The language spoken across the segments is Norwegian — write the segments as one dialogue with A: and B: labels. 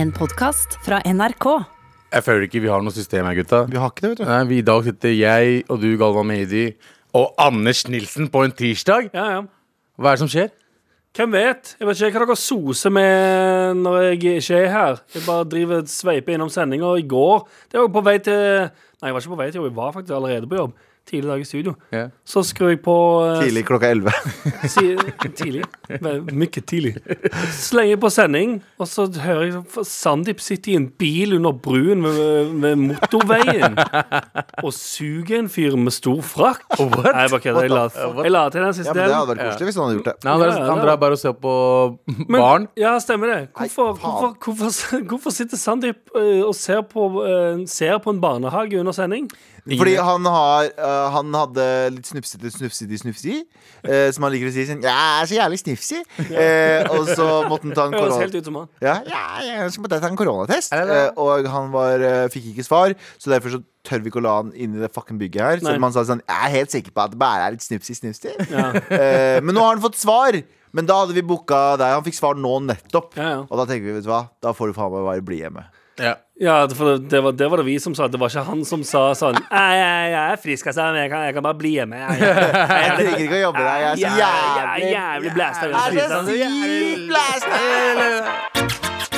A: En podkast fra NRK.
B: Jeg føler ikke vi har noe system her, gutta.
C: Vi har ikke det, vet du.
B: Nei, vi I dag sitter jeg og du, Galvan Mehidi, og Anders Nilsen på en tirsdag.
D: Ja, ja.
B: Hva er det som skjer?
D: Hvem vet? Jeg vet ikke hva dere soser med når jeg ikke er her. Jeg bare driver og sveiper innom sendinger. Og i går Det var jo på vei til Nei, jeg var ikke på vei til jobb, jeg var faktisk allerede på jobb. Tidlig dag i studio.
B: Ja.
D: Så skrur jeg på eh,
C: Tidlig klokka 11.
D: Si, tidlig. Vel, Mye tidlig. Slenger på sending, og så hører jeg sånn, Sandeep sitter i en bil under bruen ved, ved motorveien og suger en fyr med stor frakk. Nei, jeg bare kødder. Jeg la- Jeg la til den
C: Ja,
D: siste
C: men Det hadde
D: delen.
C: vært koselig hvis han hadde gjort det.
B: Nei, han, drar-
D: Ja, ja,
B: han
D: ja.
B: drar bare og ser på
D: Men-
B: barn.
D: Ja, stemmer det. Hvorfor,
C: Nei, faen.
D: hvorfor, hvorfor, hvorfor sitter Sandeep eh, og ser på, eh, ser på en barnehage under sending?
C: Fordi han har øh, Han hadde litt snufsete, snufsete, snufsi. eh, som han liker å si sånn Jeg er så jævlig snifsi. Eh, og så måtte han ta en
D: Høres
C: korona.
D: helt ut som han.
C: Ja, ja, jeg skal bare ta en koronatest.
B: Er det det?
C: Eh, og han var, eh, fikk ikke svar, så derfor så tør vi ikke å la han inn i det fucking bygget her.
D: Nei.
C: Selv om han sa sånn Jeg er helt sikker på at det bare er litt snipsi, snipsi.
D: Ja.
C: Eh, men nå har han fått svar! Men da hadde vi booka deg. Han fikk svar nå nettopp.
D: Ja, ja.
C: Og da tenker vi, vet du hva, da får du faen meg bare bli hjemme.
B: Ja.
D: Ja, for det var, det var det vi som sa. Det var ikke han som sa sånn Jeg, jeg, jeg er frisk, altså, men jeg kan, jeg kan bare bli hjemme. Jeg, jeg, jeg,
C: Jeg trenger ikke å jobbe der. Jeg er så jævlig
D: jeg er jævlig blæsta.
C: Jeg er så sykt blæsta!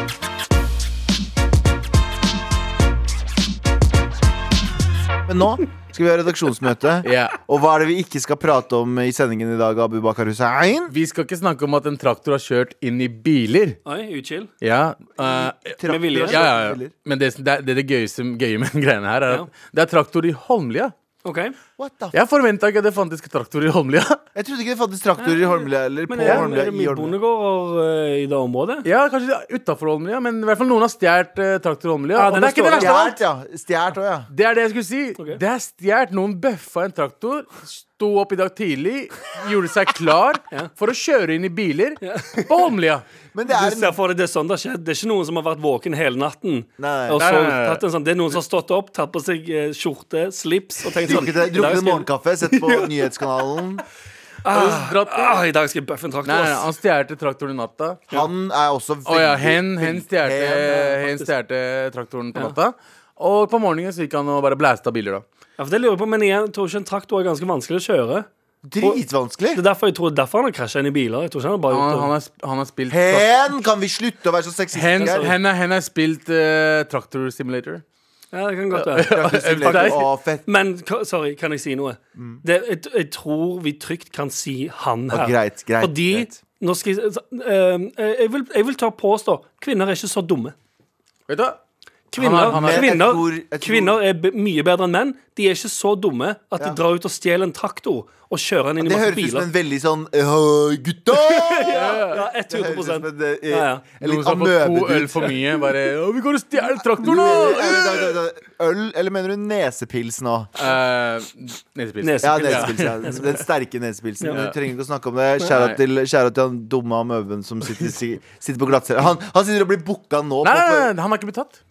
C: Men nå skal vi ha redaksjonsmøte.
B: Ja.
C: Og hva er det vi ikke skal prate om i sendingen i dag, Abu Bakar Hussein?
B: Vi skal ikke snakke om at en traktor har kjørt inn i biler.
D: Oi, uchill.
B: Ja, eh,
D: Med vilje.
B: ja, ja, ja. Men det, som- det, er- det, er det gøyeste, gøye med den greiene her, er
D: Ja.
B: at det er traktor i Holmlia.
D: OK.
C: What the f
B: Jeg forventa ikke at det fantes traktor i Holmlia.
C: Jeg trodde ikke det fantes traktorer i Holmlia eller på
D: Men er,
C: Holmlia.
D: er det
C: i
D: mye
C: Holmlia.
D: bondegårder eh, i det området?
B: Ja, kanskje utafor Holmlia, men i hvert fall noen har stjålet eh, traktor i Holmlia.
D: Ja,
B: og det er
D: den er
B: ikke det
D: stjålet.
B: verste av alt!
C: Stjålet, ja. Stjålet òg, ja.
B: Det er det jeg skulle si.
D: Ok.
B: Det er stjålet. Noen bøffa en traktor, sto opp i dag tidlig, gjorde seg klar
D: Ja.
B: for å kjøre inn i biler på Holmlia.
C: Men det
D: Du
C: er en
D: ser for deg det er sånn det har skjedd. Det er ikke noen som har vært våken hele natten.
C: Nei.
B: Nei,
D: Og så
B: nei, nei, nei.
D: tatt en sånn Det er noen som har stått opp, tatt på seg eh, skjorte, slips og tenkt sånn
C: drukket
D: "I dag
C: drukket
D: skal jeg-
C: morgenkaffe, sett på nyhetskanalen.
D: Ah,
B: Dratt,
D: ah, I dag skal jeg bøffe en
B: nei, nei, altså-
D: traktor.
B: han stjal traktoren i natta.
C: Han er også
B: Å ja,
C: veldig-
B: hen, hen stjal
C: Hen, ja,
B: hen stjal traktoren på natta. Og på morgenen så gikk han og bare blæsta biler, da.
D: ass. Ja, for det lurer jeg på, men igjen, jeg tror ikke en traktor er ganske vanskelig å kjøre.
C: Dritvanskelig.
D: Det er derfor jeg tror derfor han har krasja inn i biler. Jeg tror ikke han har bare
B: Han,
D: gjort
B: han,
D: det.
B: har, sp- han har spilt
C: Hen, kan vi slutte å være så
B: Hen,
C: sexistiske? her?
B: hen, er- hen har spilt eh, Traktor Simulator.
D: Ja, det kan godt være.
C: Gratulerer. Å, fett. Mm.
D: Men ka- sorry, kan jeg si noe? Det, jeg, jeg tror vi trygt kan si han her.
C: Å, greit, greit,
D: Fordi
C: greit.
D: Nå skal jeg, så- ehm, jeg, vil, jeg vil ta påstå kvinner er ikke så dumme.
B: Vet du? hva?
D: Kvinner,
B: Han er- han er-
D: kvinner,
C: Jeg tror- jeg tror-
D: kvinner er b mye bedre enn menn. De er ikke så dumme at de drar ut og stjeler en traktor og kjører den inn i
C: Det
D: masse
C: høres ut som
D: biler.
C: en veldig sånn «Hei, Gutta!
D: Ja,
C: Det høres ut
D: 100
C: som en, eh,
D: Ja, ja.
C: en
B: Noen
C: litt
B: som har fått to øl
C: amøbedut.
B: for mye. Bare «Å, 'Vi går og stjeler traktoren,
C: Mener-
B: nå!'
C: eller, da, da, da, Øl, eller mener du nesepils nå?
B: Eh, Nesepils.
D: Nes-
C: Ja,
D: Ja.
C: nesepils, ja. Den sterke nesepilsen.
D: Ja.
C: Du trenger ikke å snakke om det. Kjære
B: Nei.
C: til, kjære til han dumme amøben som sitter, si- sitter på glattcelle. Han, han sitter og blir booka nå.
B: Nei, nei,
C: på-
B: nei, han har ikke blitt tatt.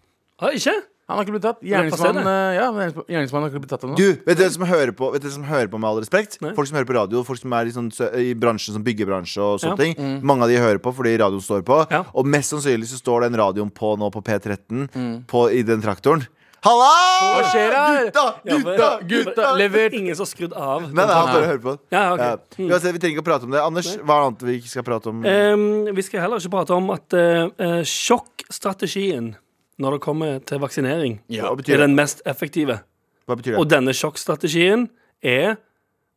D: Ah, ikke?
B: Han har ikke blitt tatt
D: er passé,
B: Gjerningsmannen
D: det.
B: eh, ja, men gjerningsmannen- gjerningsmannen har ikke blitt tatt ennå.
C: Du, vet dere som hører på, vet dere som hører på med all respekt?
D: Nei.
C: Folk som hører på radio, folk som er i, sånn, sø- i bransjen som byggebransje og
D: Ja. Mm.
C: sånne ting. Mange av de hører på fordi radioen står på.
D: Ja.
C: Og mest sannsynlig så står den radioen på nå på P13
D: Mm.
C: på, i den traktoren. Halla!
B: Hva skjer her?
C: Gutta!
D: Ja,
C: Gutta!
D: men-
C: Gutta!
B: Gutta, levert!
D: Ingen som har skrudd av.
C: Nei, nei, han bare hører på.
D: Ja, ok.
C: Ja.
D: Mm.
C: Uansett, vi trenger ikke å prate om det. Anders, hva er det annet vi ikke skal prate om?
D: Ehm, vi skal heller ikke prate om at eh, eh, sjokkstrategien når det kommer til vaksinering,
B: Ja.
C: Hva
D: er
C: betyr det?
D: den mest effektive.
C: Hva betyr
D: Og
C: det?
D: denne sjokkstrategien er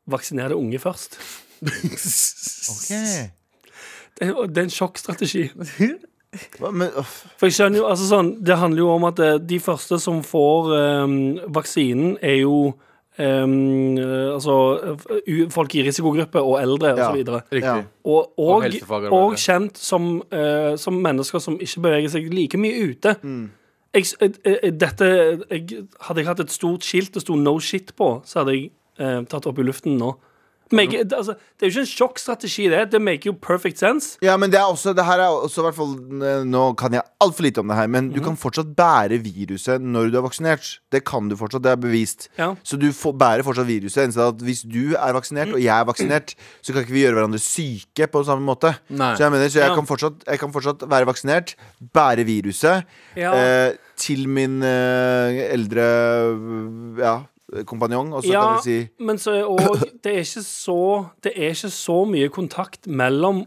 D: vaksinere unge først.
C: Ok.
D: Det er det er en sjokkstrategi.
C: Hva, men, uff.
D: For jeg skjønner jo, altså sånn, Det handler jo om at eh, de første som får eh, vaksinen, er jo eh, altså, eh, u- folk i risikogruppe og eldre
C: Ja.
D: osv. Og,
B: Riktig.
C: Ja.
D: og,
B: Og
D: og,
B: helsefagarbeidere.
D: og kjent som, eh, som mennesker som ikke beveger seg like mye ute. Jeg, s- eh, eh, dette, jeg, hadde jeg hatt et stort skilt det sto 'no shit' på, så hadde jeg eh, tatt opp i luften nå. Make, det- altså, det er jo ikke en sjokkstrategi, det. Det make jo perfect sense.
C: Ja, men det er også, det her er også i hvert fall eh, Nå kan jeg altfor lite om det her, men
D: Mhm.
C: du kan fortsatt bære viruset når du er vaksinert. Det kan du fortsatt, det er bevist.
D: Ja.
C: Så du får, bærer fortsatt viruset. eneste er At hvis du er vaksinert, og jeg er vaksinert, så kan ikke vi gjøre hverandre syke på samme måte.
B: Nei.
C: Så jeg mener, så jeg,
D: Ja.
C: kan fortsatt, jeg kan fortsatt være vaksinert, bære viruset
D: Ja.
C: eh, til min eh, eldre ja, kompanjong, og så
D: Ja,
C: kan du si
D: men så, og det er ikke så Det er ikke så mye kontakt mellom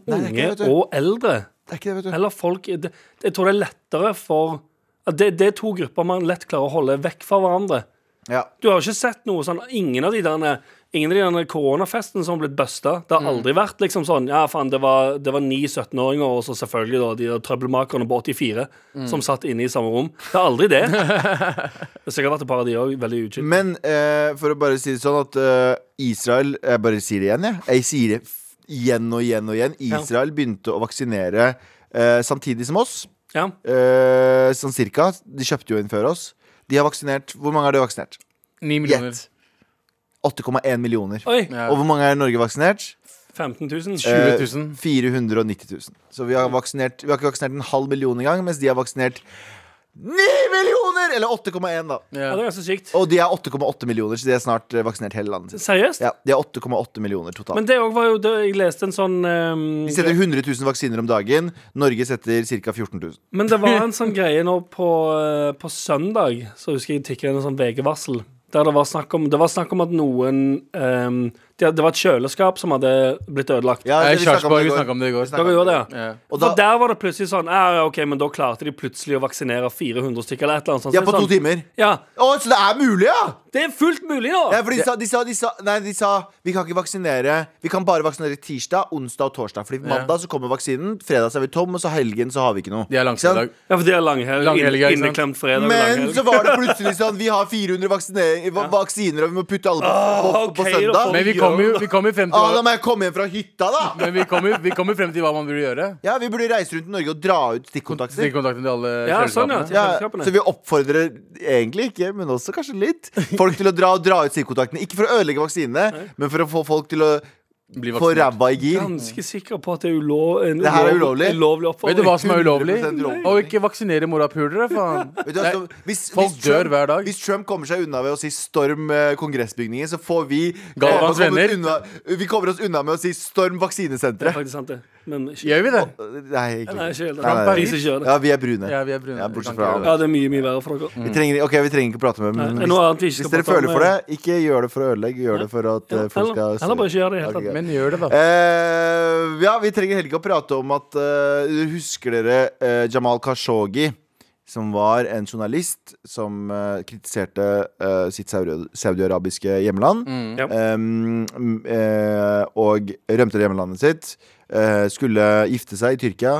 C: Nei, det er ikke
D: unge
C: det, vet du.
D: og eldre.
C: Det er ikke det, vet du.
D: Eller folk det, Jeg tror det er lettere for at det, det er to grupper man lett klarer å holde vekk fra hverandre.
C: Ja.
D: Du har ikke sett noe sånn Ingen av de derne Ingen av de derne koronafestene som har blitt busta. Det har
C: Mm.
D: aldri vært liksom sånn Ja, faen, det var, det var ni 17-åringer, og så selvfølgelig da de der trøbbelmakerne på 84
C: Mm.
D: som satt inne i samme rom. Det er aldri det. det har sikkert vært et par av de òg. Veldig utskilt.
C: Men eh, for å bare si det sånn at eh, Israel Jeg bare sier det igjen, jeg. Jeg sier det f- igjen og igjen og igjen. Israel begynte å vaksinere eh, samtidig som oss.
D: Ja.
C: Eh, sånn cirka. De kjøpte jo inn før oss. De har vaksinert Hvor mange har de vaksinert?
B: 9 millioner.
C: Gjett. 8,1 millioner.
D: Oi!
B: Ja.
C: Og hvor mange er Norge vaksinert?
D: 15 000.
B: 20
C: Eh,
B: 000.
C: 490 000. Så vi har, vaksinert, vi har ikke vaksinert en halv million engang, mens de har vaksinert 9 millioner! Eller 8,1, da.
D: Ja,
B: Ja.
D: det er ganske sykt.
C: Og de er 8,8 millioner, så de er snart eh, vaksinert hele landet sitt.
D: Seriøst?
C: Ja, De er 8,8 millioner totalt.
D: Men det òg var jo det, Jeg leste en sånn ehm,
C: de setter 100 000 vaksiner om dagen. Norge setter ca. 14 000.
D: Men det var en sånn greie nå på, eh, på søndag, så husker jeg tikket inn en sånn VG-varsel. Der det var snakk om, det var snakk om at noen ehm, det, det var et kjøleskap som hadde blitt ødelagt.
C: Ja,
B: Eh,
C: det vi snakket om
B: Kjarsborg,
C: i
B: vi
C: går.
B: snakka om det i går.
D: Dere gjorde det, ja.
B: Ja.
C: Og
D: For
C: da,
D: der var det plutselig sånn ja, ja, OK, men da klarte de plutselig å vaksinere 400 stykker eller et eller annet sånt.
C: ja,
D: Så
C: på
D: det er
C: to
D: sånn,
C: timer.
D: Ja,
C: Å, så det er mulig, ja!
D: det er fullt mulig,
C: ja
D: da!
C: for de sa, de, sa, de, sa, nei, de sa vi kan ikke vaksinere Vi kan bare vaksinere tirsdag, onsdag og torsdag. Fordi mandag så kommer vaksinen, fredag så er vi tom, og så helgen så har vi ikke noe.
B: De er
C: Ikke sant?
B: langfredag.
D: Ja, for det er langhelg.
B: Langhelg, ja,
D: inn-
B: ikke sant?
D: Inneklemt fredag.
C: Men
D: langhelg.
C: så var det plutselig sånn Vi har 400 vaksinering- va- vaksiner, og vi må putte alle
B: Ah,
C: på, på,
D: ok,
C: på
D: da får
C: søndag.
B: Men vi kommer jo, vi kom jo frem til
C: Ah, da
B: hva,
C: må jeg komme hjem fra hytta, da!
B: men vi kom jo, vi kom jo frem til hva man burde gjøre.
C: Ja, Vi burde reise rundt i Norge og dra ut stikkontakter.
B: Stikk kontakten til alle
D: Ja, sånn, ja.
B: kjøleskapene.
C: Ja,
D: selskapene.
C: så vi oppfordrer egentlig ikke, men også kanskje litt, folk til å dra og dra ut stikkontaktene. Ikke for å ødelegge vaksinene, men for å få folk til å
B: Bli
C: få
B: vaksinert.
C: ræva i gir.
D: Ganske sikker på at det er ulov, en
C: Det her er
D: ulov-
C: ulovlig.
B: Vet du
D: oppfordring.
B: hva som er ulovlig?
C: 100% ulovlig.
B: Å ikke vaksinere morapulere, faen.
C: Vet du, hva, så, hvis,
B: Folk
C: hvis
B: dør hver dag.
C: Hvis Trump kommer seg unna ved å si 'storm eh, kongressbygningen', så får vi eh,
B: Galvans
C: komme
B: venner.
C: Unna, vi kommer oss unna med å si 'storm
D: Det er
C: vaksinesenteret'.
D: faktisk sant, det. Men ikke,
B: Gjør vi det?
C: Nei,
D: Nei, ikke helt.
C: Nei, nei,
D: Trump
C: nei.
D: er ikke kjøret.
C: Ja, vi er brune.
B: Ja, vi er brune.
C: Ja,
B: Vi
C: bortsett
B: kan
C: fra
B: ikke gjøre
D: Ja, det er mye, mye verre for dere.
C: Vi trenger, ok, vi trenger ikke prate med
D: Nei,
C: men
D: det er noe annet vi
C: hvis,
D: ikke
C: hvis
D: skal
C: dere
D: prate om,
C: føler for det, ikke gjør det for å ødelegge. Gjør det for at eh, folk skal
D: Eller, eller bare ikke gjør det i det
C: Ok,
D: hele tatt.
C: greit.
B: Men gjør det, da.
C: Eh, ja, vi trenger heller ikke å prate om at eh, Husker dere eh, Jamal Khashoggi? Som var en journalist som eh, kritiserte eh, sitt saudi- saudiarabiske hjemland.
D: Ja.
C: Em, mm, eh, og rømte til hjemlandet sitt. eh, skulle gifte seg i Tyrkia.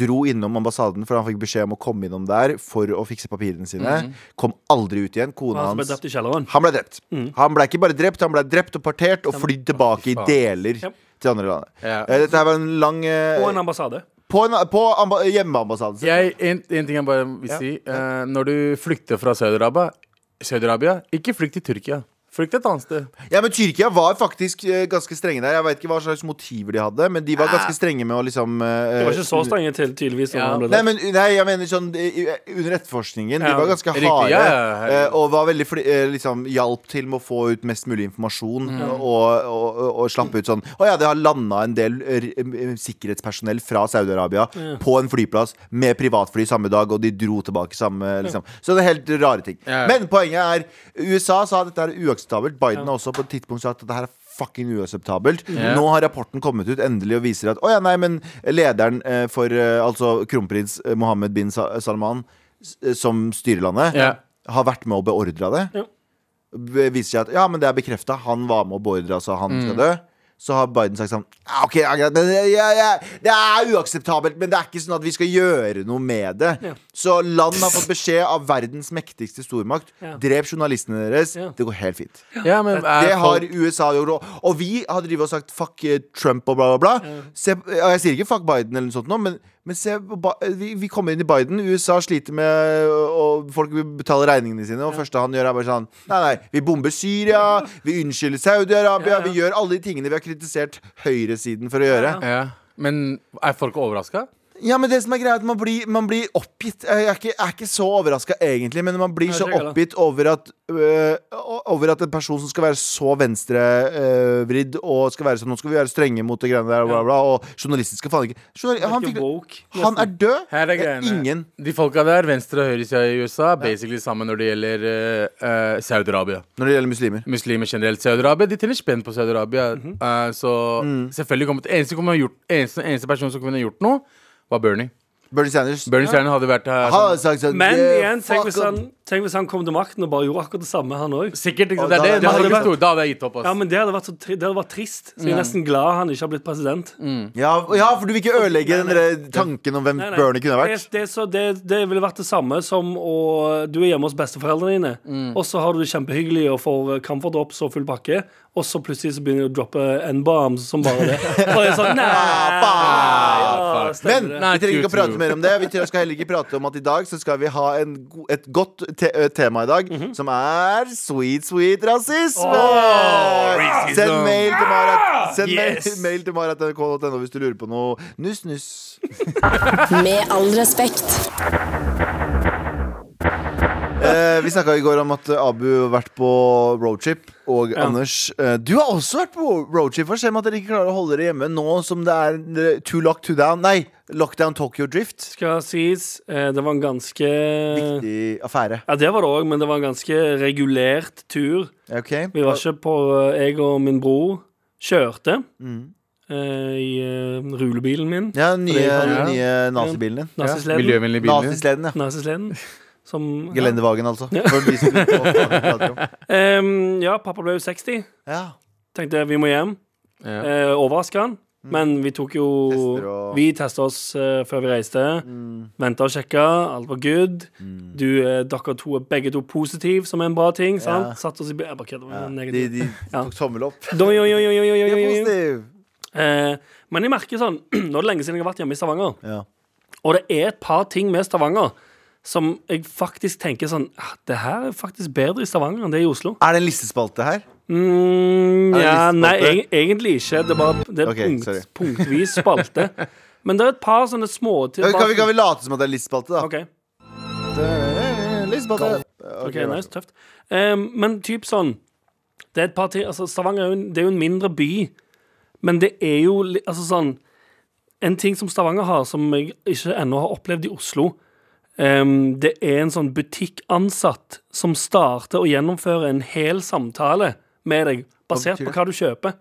C: Dro innom ambassaden, for han fikk beskjed om å komme innom der for å fikse papirene sine. Kom aldri ut igjen. Kona
D: Mm. Han som ble
C: hans
D: drept i kjelleren.
C: han ble drept.
D: Mm.
C: Han ble ikke bare drept, han ble drept og partert og flydd tilbake i
B: faen.
C: deler
D: Yep.
C: til andre land.
B: Ja.
C: Eh, Dette her var en lang eh,
D: Og en ambassade.
C: På, en, på amba, hjemmeambassaden sin.
B: Jeg, en, en ting jeg bare vil
C: Ja,
B: si. eh, når du flykter fra Saudi-Arabia, Saudi-Arabia, ikke flykt til Tyrkia. Flykt et annet sted.
C: Ja, men Tyrkia var faktisk eh, ganske strenge der. Jeg vet ikke hva slags motiver de hadde, men de var ganske strenge med å liksom eh,
D: Det var ikke så strenge til, tydeligvis. Når
B: Ja.
D: han ble
C: Nei,
D: drept.
C: men nei, jeg mener sånn i- i- under etterforskningen. De
D: Ja.
C: var ganske
B: Riktig,
C: harde.
B: ja, ja, ja.
C: eh, Og var veldig fli, eh, liksom, hjalp til med å få ut mest mulig informasjon.
B: Mm.
C: Og, og, og, og slapp ut sånn Å ja, det har landa en del eh, eh, sikkerhetspersonell fra Saudi-Arabia på en flyplass med privatfly samme dag, og de dro tilbake samme liksom. Så det er helt rare ting.
B: Ja, ja.
C: Men poenget er USA sa at dette er uakseptabelt. Biden har også på et tidspunkt sagt at dette her er fucking uakseptabelt.
B: Ja.
C: Nå har rapporten kommet ut endelig og viser at Å ja, nei, men lederen eh, for eh, altså kronprins eh, Mohammed bin Sa- Salman, s- eh, som styrer landet,
B: Ja.
C: har vært med og beordra det.
D: Ja.
C: Det Viser seg at ja, men det er bekrefta. Han var med og beordra, så han skal dø. Så har Biden sagt sånn «Ja, OK, ja, greit, men, ja, ja, det er uakseptabelt, men det er ikke sånn at vi skal gjøre noe med det.
D: Ja.
C: Så land har fått beskjed av verdens mektigste stormakt.
D: Ja.
C: Drep journalistene deres.
D: Ja.
C: Det går helt fint.
B: Ja, men
C: Det
B: er
C: har
B: folk,
C: USA gjort òg. Og vi har drevet og sagt fuck eh, Trump og bla, bla, bla. Se, ja, jeg sier ikke fuck Biden, eller noe sånt nå, men, Men se, ba, vi, vi kommer inn i Biden. USA sliter med Og folk betaler regningene sine. Og første han gjør, er bare sånn Nei, nei, vi bomber Syria. Vi unnskylder Saudi-Arabia.
D: Ja, ja.
C: Vi gjør alle de tingene vi har kritisert høyresiden for å gjøre.
B: Ja. Men er folk overraska?
C: Ja, men det som er greia er at man blir, man blir oppgitt Jeg er ikke, jeg er ikke så overraska egentlig, men man blir
D: Nei,
C: så
D: det er ikke
C: oppgitt over at øh, Over at en person som skal være så venstrevridd og skal være sånn Nå skal vi være strenge mot det greiene der, og bla, bla, og journalisten skal faen ikke Journal-
D: Han,
C: han, fikk, han er død!
B: Her er
C: Det er
B: greiene.
C: ingen.
B: Eh, De folka der, venstre- og høyresida i USA, er basically sammen når det gjelder eh, eh, Saudi-Arabia.
C: Når det gjelder muslimer.
B: Muslimer generelt. Saudi-Arabia, de tjener spenn på Saudi-Arabia.
C: Mhm.
B: Eh, så
C: Mm.
B: selvfølgelig kommer det eneste, kommer gjort, eneste, eneste person som kunne gjort noe, var Bernie.
C: Bernie Sanders.
B: Bernie Sanders hadde vært her
C: Han
B: sånn,
C: har sagt sånn
D: Men
C: «Yeah,
D: igjen,
C: fuck
D: tenk hvis,
C: up».
D: han, tenk hvis han kom til makten og bare gjorde akkurat det samme, han òg.
B: Sikkert. Ikke,
C: Og
B: sant? det
C: da-
B: er det,
C: det
B: det,
C: hadde
B: hadde
C: vært-
B: vært stort. Da hadde jeg gitt opp. ass.
D: Ja, men det hadde vært, så tri det hadde vært trist. Så jeg er nesten glad han ikke har blitt president.
C: ja, ja, for du vil ikke ødelegge den der tanken om hvem
D: Nei, nei.
C: Bernie kunne ha
D: Det,
C: vært.
D: det, er så, det, det ville vært det samme som å Du er hjemme hos besteforeldrene dine,
C: Mm.
D: og så har du det kjempehyggelig og får comfort drops og full pakke, og så plutselig så begynner du å droppe N-bombs som bare det. Og det er sånn, nei,
C: Ah,
D: ja,
C: Men
D: stemmer det.
B: Nei,
C: vi trenger ikke
B: true,
C: å
B: true.
C: prate mer om det. Vi tre skal heller ikke prate om at i dag så skal vi ha en, go- et godt te ø, tema i dag,
D: Mhm.
C: som er sweet, sweet rasisme.
B: racism.
C: Send mail til Marat Send
D: Yes.
C: mail, mail til marat.nrk.no hvis du lurer på noe nuss, nuss.
A: Med all respekt.
C: Eh, vi snakka i går om at eh, Abu har vært på roadtrip. Og
D: Ja.
C: Anders, eh, du har også vært på roadtrip. Hva skjer med at dere ikke klarer å holde dere hjemme nå som det er eh, too locked to down? Nei, lockdown Tokyo Drift.
D: Skal sies, eh, det var en ganske
C: Viktig affære.
D: Ja, det var det òg, men det var en ganske regulert tur.
C: Ok?
D: Vi var ikke på eh, Jeg og min bror kjørte
C: Mm.
D: eh, i eh, rulebilen min.
C: Ja, den nye,
D: Ja.
C: den nye nazibilen din.
D: Nazisleden.
B: Miljøvennlig bil.
C: Nazisleden, ja.
D: Nazisleden. Som ja.
C: Gelendevagen, altså. For de som lurer på hva faen vi prater om.
D: Ehm, ja, pappa ble jo 60.
C: Ja.
D: Tenkte vi må hjem.
B: Ja.
D: Eh, Overraska han. Men vi tok jo
C: Mm. Tester og-
D: Vi testa oss eh, før vi reiste. Mm. Venta og sjekka. Alt var good.
C: Mm.
D: Du, eh, dere to er begge to positive, som er en bra ting. Sant? Satt oss i bi- Jeg bare kødder. det var en
C: De,
D: negativ.
C: de
D: Ja.
C: tok tommel opp.
D: Doi, oi, oi, oi, oi, oi,
C: De er
D: oi, oi.
C: positive.
D: Eh, Men jeg merker sånn Nå er det lenge siden jeg har vært hjemme i Stavanger.
C: Ja.
D: Og det er et par ting med Stavanger som jeg faktisk tenker sånn «Ah, Det her er faktisk bedre i Stavanger enn det er i Oslo.
C: Er det en listespalte her?
D: Mm,
C: Er det
D: ja,
C: listespalte?
D: nei, eg, egentlig ikke. Det er bare det er
C: Ok, sorry.
D: punkt, punktvis spalte. Men det er et par sånne små til
C: Ja, Kan vi, kan vi late som at det er en listespalte, da?
D: OK,
C: Listespalte.
D: ok,
C: Ok,
D: nice, tøft. Eh, men typ sånn Det er et par ting altså, Stavanger er jo, en- det er jo en mindre by, men det er jo li- altså sånn En ting som Stavanger har, som jeg ikke ennå har opplevd i Oslo, Ehm, det er en sånn butikkansatt som starter og gjennomfører en hel samtale med deg, basert
C: betyr
D: på
C: det?
D: hva du kjøper.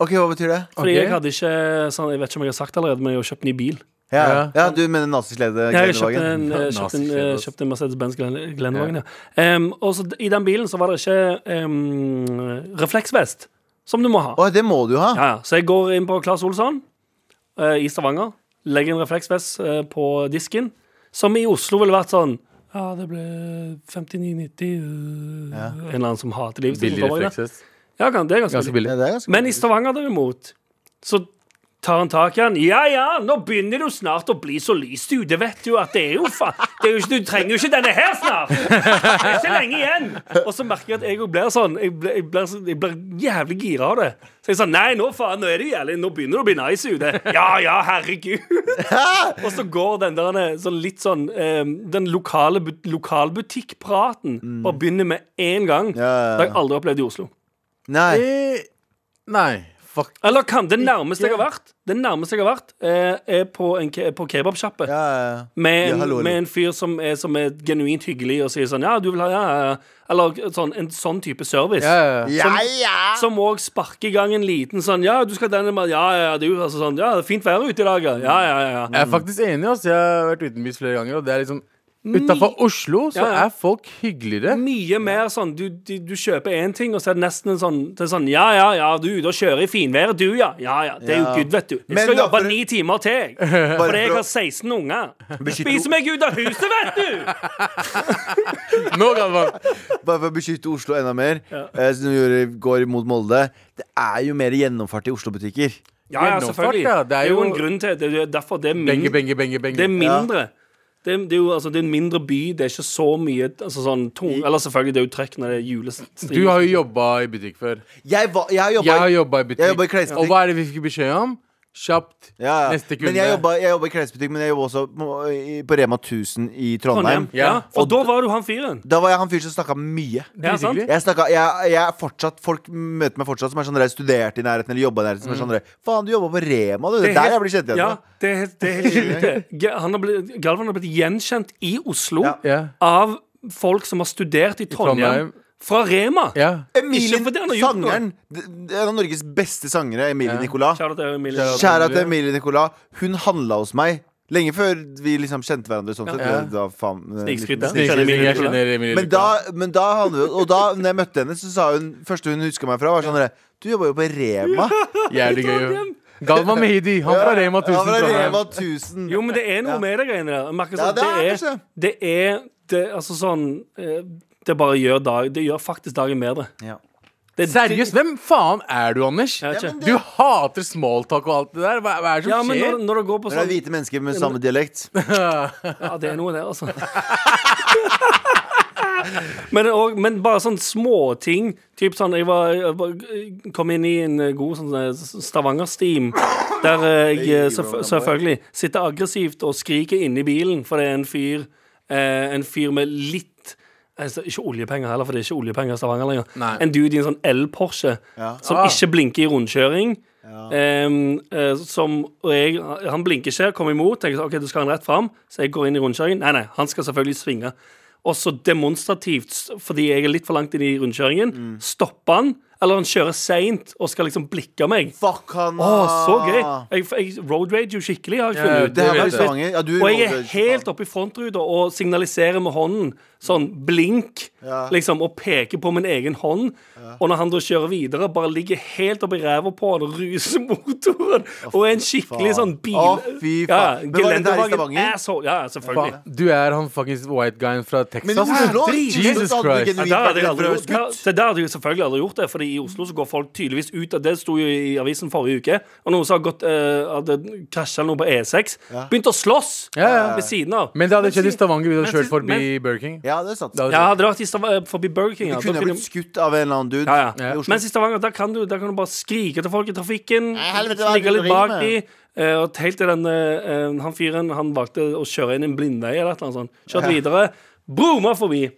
C: Ok, hva betyr det?
B: Ok.
D: Fordi jeg hadde ikke sånn, Jeg vet ikke om jeg har sagt det allerede, men jeg har kjøpt ny bil.
C: Ja, ja.
B: Ja.
C: du mener nazislede
D: Jeg har kjøpt
C: Gelendevagen?
D: en, eh, kjøpt en, eh,
B: Nazi-sledas.
D: kjøpt en Mercedes-Benz Glen- Glendevagen, ja. Ehm, og så d- i den bilen så var det ikke ehm, refleksvest, som du må ha.
C: Å, det må du ha.
D: Ja, ja. Så jeg går inn på Claes Olsson eh, i Stavanger, legger en refleksvest eh, på disken, som i Oslo ville vært sånn ja, det ble 59,90 øh, En eller annen som hater livet sitt.
B: Billig
D: på Stavanger.
B: reflekses.
D: Ja, kan- det er ganske
B: Ganske
D: billig.
C: Ja,
B: billig.
C: det er ganske
D: Men i Stavanger, derimot, så tar han tak i han. Ja, ja, nå begynner du snart å bli så lys, du. Det vet du at det er jo faen det er jo ikke- Du trenger jo ikke denne her snart! Det er ikke lenge igjen! Og så merker jeg at jeg òg blir sånn. Jeg blir, jeg, blir, så- jeg blir jævlig gira av det. Så jeg sa nei, nå faen, nå er det jævlig Nå begynner det å bli nice ute. Ja, ja, herregud. Og så går den der så litt sånn eh, Den lokale bu- lokalbutikkpraten bare begynner med én gang.
C: Mm. Ja, ja, ja.
D: Det har jeg aldri opplevd i Oslo.
C: Nei.
B: Nei, fuck.
D: Eller kan, det nærmeste jeg har vært Det nærmeste jeg har vært eh, Er på, en ke på kebabsjappe
C: Ja, ja, ja.
D: med,
C: Ja,
D: en-
C: hallo, hallo.
D: med en fyr som er, som er genuint hyggelig Og sier sånn, ja du vil ha ja, ja, ja." Eller sånn, en sånn type service
B: Ja, ja, ja.
C: Ja, ja.
D: Som også sparker i gang en liten sånn Ja, du skal denne med- Ja, ja, ja, det er jo altså, sånn, ja, det er fint vær ute i dag Ja, ja, ja, ja, ja.
B: Jeg er faktisk enig. ass. Jeg har vært utenbys flere ganger. Og det er liksom Utafor Oslo så
D: Ja, ja.
B: er folk hyggeligere.
D: Mye mer sånn du, du, du kjøper en ting Og så er det nesten en sånn, det er sånn Ja, ja, ja, du er ute og kjører i finværet Du, ja, ja, ja, det er jo
C: Ja.
D: good, vet du Jeg
C: Men
D: skal
C: da,
D: jobbe
C: for-
D: ni timer til jeg.
C: Bare
D: Fordi jeg
C: for å-
D: har 16 unger
C: Beskytte-
D: Spiser meg ut av huset, vet du!
B: Nå, Galvan.
C: Bare for å beskytte Oslo enda mer, eh, som vi gjorde i går mot Molde. Det er jo mer gjennomfart i Oslo-butikker.
D: Ja, ja,
B: Gjennomført,
D: selvfølgelig.
B: ja.
D: Det er jo en grunn til det. Det er derfor det er, min,
B: Benge, benge, benge, benge.
D: det er mindre. Det er, det, er jo, altså, det er en mindre by, det er ikke så mye altså, sånn tung Eller selvfølgelig, det er jo trekk når det er julestrid.
B: Du har jo jobba i butikk før.
C: Jeg, var, jeg har jobba
B: Jeg har jobba i
C: Jeg jobba i
B: butikk.
C: klesbutikk.
B: Og hva er det vi fikk beskjed om? Kjapt.
C: Ja, ja.
B: Neste kunde.
C: Men jeg jobba, jeg jobba i klesbutikk, men jeg jobba også på- i- på Rema 1000 i Trondheim.
D: Trondheim. Sånn, Ja,
B: Ja.
D: for da var du han fyren.
C: Da var jeg han fyren som snakka mye.
D: Ja, sant?
B: Drithyggelig.
C: Jeg, snakket, jeg, jeg er fortsatt Folk møter meg fortsatt som er sånn der, studerte i nærheten eller jobba i nærheten. Som er sånn der, Faen, du jobba på Rema, du. Det er der jeg blir kjent igjen.
D: ja,
C: med.
D: det er, det er helt sjukt, det. Ga- han har blitt, Galvan har blitt gjenkjent i Oslo
C: Ja.
B: Ja.
D: av folk som har studert i Trondheim.
B: Trondheim.
D: Fra Rema!
B: Ja.
C: Emilie,
D: Ikke fordi han har gjort noe.
C: sangeren. det- det er En av Norges beste sangere, Emilie
B: Ja.
C: Nicolas.
D: Shout out til Emilie.
B: Shout out.
C: Kjære til Emilie Nicolas. Hun handla hos meg lenge før vi liksom kjente hverandre. Sånn sett.
B: Ja.
C: Da, faen, eh,
D: Snikskryt,
C: liten-
D: da.
B: Jeg
D: Kjenner Emilie
B: kjenner- jeg
D: Nicolas.
B: kjenner Emilie
C: Men da,
B: Nicolas.
C: men da handler det- Og da når jeg møtte henne, så sa hun første hun huska meg fra, var sånn derre Du jobba jo på Rema.
B: Jævlig gøy. Galvan Mehidi. Han fra Rema 1000.
C: Ja, fra
B: Trondheim.
C: Rema 101000.
D: Jo, men det er noe med det greiene der. Jeg merker
C: Ja,
D: sånn,
C: det er liksom-
D: det,
C: kanskje
D: er, det er det, Altså sånn eh, Det bare gjør dag Det gjør faktisk dagen bedre.
C: Ja.
D: Det,
B: Seriøst, hvem faen er du, Anders?
D: Jeg vet ikke.
C: Ja, men det-
B: Du hater smalltalk og alt det der. Hva, hva er det som
D: Ja, men når,
B: skjer?
D: når det går på
C: Når det er
D: sånn
C: hvite mennesker med samme dialekt.
D: Ja, det er noe der, altså. men, det er også- men bare sånn småting. Typ sånn Jeg, var, jeg var- kom inn i en god sånn eh, Stavanger-steam, der jeg eh, selvfø- selvfølgelig sitter aggressivt og skriker inni bilen, for det er en fyr eh, En fyr med litt altså, ikke oljepenger heller, for det er ikke oljepenger i Stavanger lenger.
B: Nei.
D: En dude i en sånn el-Porsche
C: Ja.
D: som
B: Ah.
D: ikke blinker i rundkjøring.
C: Ja.
D: Ehm, eh, som, og jeg, han blinker ikke, kom imot. Tenker, sånn, ok, du skal han rett fram Så jeg går inn i rundkjøringen. Nei, nei, han skal selvfølgelig svinge. Og så demonstrativt, s- fordi jeg er litt for langt inn i rundkjøringen,
C: Mm.
D: stopper han. Eller han kjører seint og skal liksom blikke meg.
C: Fuck han
D: Å, så gøy!
C: ah.
D: Jeg, jeg road rage jo skikkelig, har jeg
B: Ja,
D: funnet ut.
C: Det her
B: Det
C: var i
B: vet jeg.
C: Stavanger. Ja, du
D: Og jeg er
C: Road Rage,
D: helt
C: faen.
D: oppe i frontruta og signaliserer med hånden. Sånn blink,
C: Ja.
D: liksom, og peker på min egen hånd. Og når han da kjører videre, bare ligger helt oppi ræva på han og ruser motoren. og er en skikkelig
C: faen.
D: sånn bil...
C: Å, fy faen. Men var dette her i
D: Gelendewagen
C: Stavanger?
D: Asshole. Ja, ja, selvfølgelig.
B: Faen, Du er han fuckings white guyen fra
C: Men du
B: Texas.
C: forstår,
B: Drit.
C: du
B: Jesus
C: forstår at altså, du
B: Christ.
D: Ja,
C: genuint
D: der hadde
C: er redd
D: jeg
C: for
D: aldri
C: å
D: gjort
C: være skutt.
D: det. Der hadde jeg selvfølgelig aldri gjort det, Fordi i Oslo så går folk tydeligvis ut av Det sto jo i avisen forrige uke. Og noen som har gått, eh, hadde krasja noe på E6, begynte å slåss
B: Ja, ja.
D: ved siden av.
B: Men det hadde skjedd i Stavanger. Vi hadde
D: Men-
B: kjørt forbi
D: men-
B: Burger King.
C: Ja, det er sant.
B: Det hadde
D: Ja,
B: skjedd.
D: hadde det vært i Stav- eh, forbi Burger King
C: Du
D: ja, da
C: kunne ha
D: kunne-
C: blitt skutt av en eller annen dude.
D: ja,
C: i
D: ja.
C: Oslo.
D: Mens i Stavanger der kan, du, der kan du bare skrike til folk i trafikken.
C: helvete, hva er det du
D: Ligge litt
C: driver
D: bak de eh, Og helt til den, eh, han fyren Han valgte å kjøre inn en blindvei eller et eller annet sånt. Kjørt videre. Broma forbi.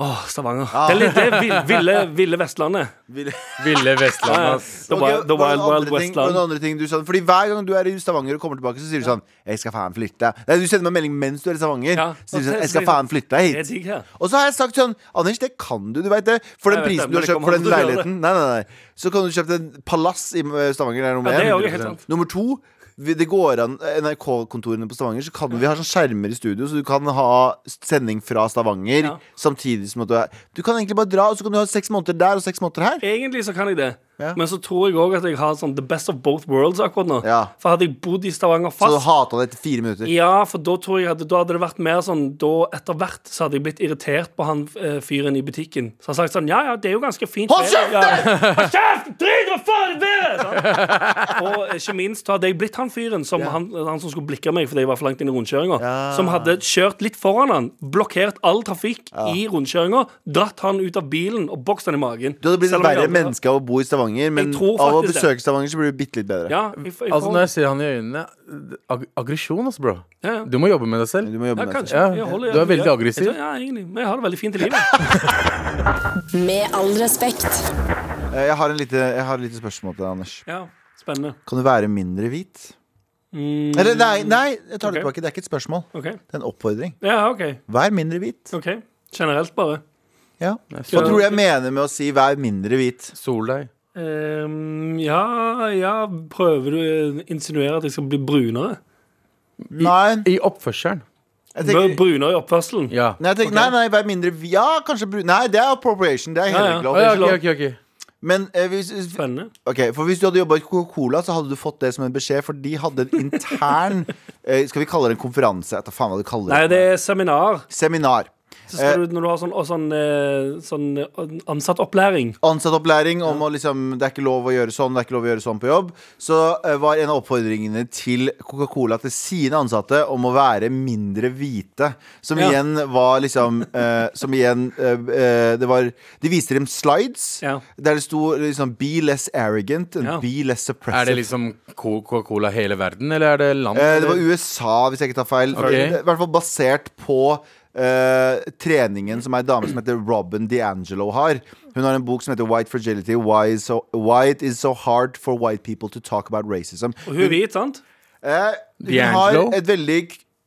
D: Åh, Stavanger.
C: Ah.
D: Det er litt det er vill- ville, ville Vestlandet.
C: Vil-
B: Ville Vestland,
D: Ja, ja.
B: ass.
D: The
C: Ok,
D: Wild, the
C: hva er
D: wild,
C: den andre ting-
D: wild
C: hva er den
D: Westland.
C: andre ting du sa? Fordi Hver gang du er i Stavanger og kommer tilbake, så sier du sånn 'Jeg skal faen flytte'. Nei, du sender meg en melding mens du er i Stavanger.
D: Ja.
C: Så sier du sånn,
D: Og så- sånn,
C: 'Jeg skal faen flytte deg
D: Det er
C: hit'.
D: digg her.
C: Og så har jeg sagt sånn Anders, det kan du, du veit det. For den
D: Jeg vet
C: prisen
D: det,
C: du har
D: men det
C: kjøpt for den
D: kommer aldri til å
C: leiligheten Nei, nei, nei. Så kan du kjøpe en palass i eh, Stavanger. Det er nummer
D: Ja, det er
C: én.
D: også helt sant.
C: Nummer to vi- det går an NRK-kontorene på Stavanger, så kan vi ha sånn skjermer i studio, så du kan ha sending fra Stavanger
D: Ja.
C: samtidig som at du er Du kan egentlig bare dra, og så kan du ha seks måneder der og seks måneder her.
D: Egentlig så kan jeg det.
C: Ja.
D: Men så tror jeg òg at jeg har sånn the best of both worlds akkurat nå.
C: Ja.
D: For hadde jeg bodd i Stavanger
C: Så du
D: fast
C: hata det etter fire minutter.
D: Ja, for da tror jeg hadde, da hadde det vært mer sånn Da etter hvert så hadde jeg blitt irritert på han eh, fyren i butikken. Så han sagt sånn Ja, ja, det er jo ganske fint.
C: Hold
D: vær,
C: kjeft,
D: Ja. Hold kjeft! Drit i hva faen det er! Sånn. Og ikke minst da hadde jeg blitt han fyren som, han, han som skulle blikke meg fordi jeg var for langt inn i rundkjøringa.
C: Ja.
D: Som hadde kjørt litt foran han, blokkert all trafikk i rundkjøringa, dratt han ut av bilen og bokst han i magen.
C: Du hadde blitt
D: Selv
C: et
D: om jeg
C: verre
D: aldri-
C: menneske av å bo i Stavanger, men
D: Jeg tror
C: av å
D: faktisk det.
C: besøke Stavanger så blir du bitte litt bedre.
D: Ja, jeg, jeg,
B: Altså, når jeg ser han i øynene ag Aggresjon, altså, bro.
D: Ja, ja.
B: Du må jobbe med deg selv.
C: Du må jobbe
D: ja,
C: med det.
D: kanskje.
B: Ja,
D: Jeg holder-
B: du er veldig aggressiv.
D: Jeg, jeg, ja, egentlig. Men jeg har det veldig fint i livet.
A: Med all respekt.
C: Eh, Jeg har en lite, jeg har et lite spørsmål til deg, Anders.
D: Ja, spennende.
C: Kan du være mindre hvit? Eller nei, nei, jeg tar det
D: Ok.
C: tilbake. Det er ikke et spørsmål.
D: Mm, Ok
C: Det er en oppfordring.
D: Ja, OK.
C: Vær mindre hvit.
D: ok Generelt, bare.
C: Ja.
B: så-
C: Hva tror du jeg mener med å si 'vær mindre hvit'?
B: Sol deg.
D: Ehm, ja, ja Prøver du å insinuere at jeg skal bli brunere?
C: Nei,
B: I oppførselen.
C: jeg
D: Bør
C: tenker,
D: brunere i oppførselen?
B: Ja.
C: nei, jeg tenker nei, nei, vær mindre hvit Ja, kanskje brun Nei, det er appropriation. Det er
D: Ja,
C: heller
D: ja.
C: ikke
B: Å, ja,
C: lov.
B: ok, ok, ok.
C: Men eh, hvis, hvis-
D: Spennende.
C: Ok, for hvis du hadde jobba i Coca-Cola, så hadde du fått det som en beskjed, for de hadde en intern eh, Skal vi kalle det en konferanse? Jeg vet da faen hva du kaller
D: Nei, det er seminar.
C: Seminar.
D: Så skal du, når du har sånn, og sånn, eh, sånn eh, ansattopplæring
C: Ansattopplæring om å liksom Det er ikke lov å gjøre sånn, det er ikke lov å gjøre sånn på jobb. Så eh, var en av oppfordringene til Coca-Cola til sine ansatte om å være mindre hvite. Som
D: Ja.
C: igjen var liksom eh, Som igjen eh, eh, Det var De viste dem slides
D: Ja.
C: der det sto liksom Be less arrogant and
D: Ja.
C: be less
B: Er det
C: suppressive.
B: liksom Co- Coca-Cola hele verden, eller er det land?
C: Eh, det
B: eller?
C: var USA, hvis jeg ikke tar feil.
B: Ok.
C: I hvert fall basert på eh, treningen som ei dame som heter Robin DiAngelo har. Hun har en bok som heter White Fragility. Why, is so, why it is so hard for white people to talk about racism.
D: Og hun er hvit, sant?
C: Eh, hun
B: D'Angelo?
C: har et veldig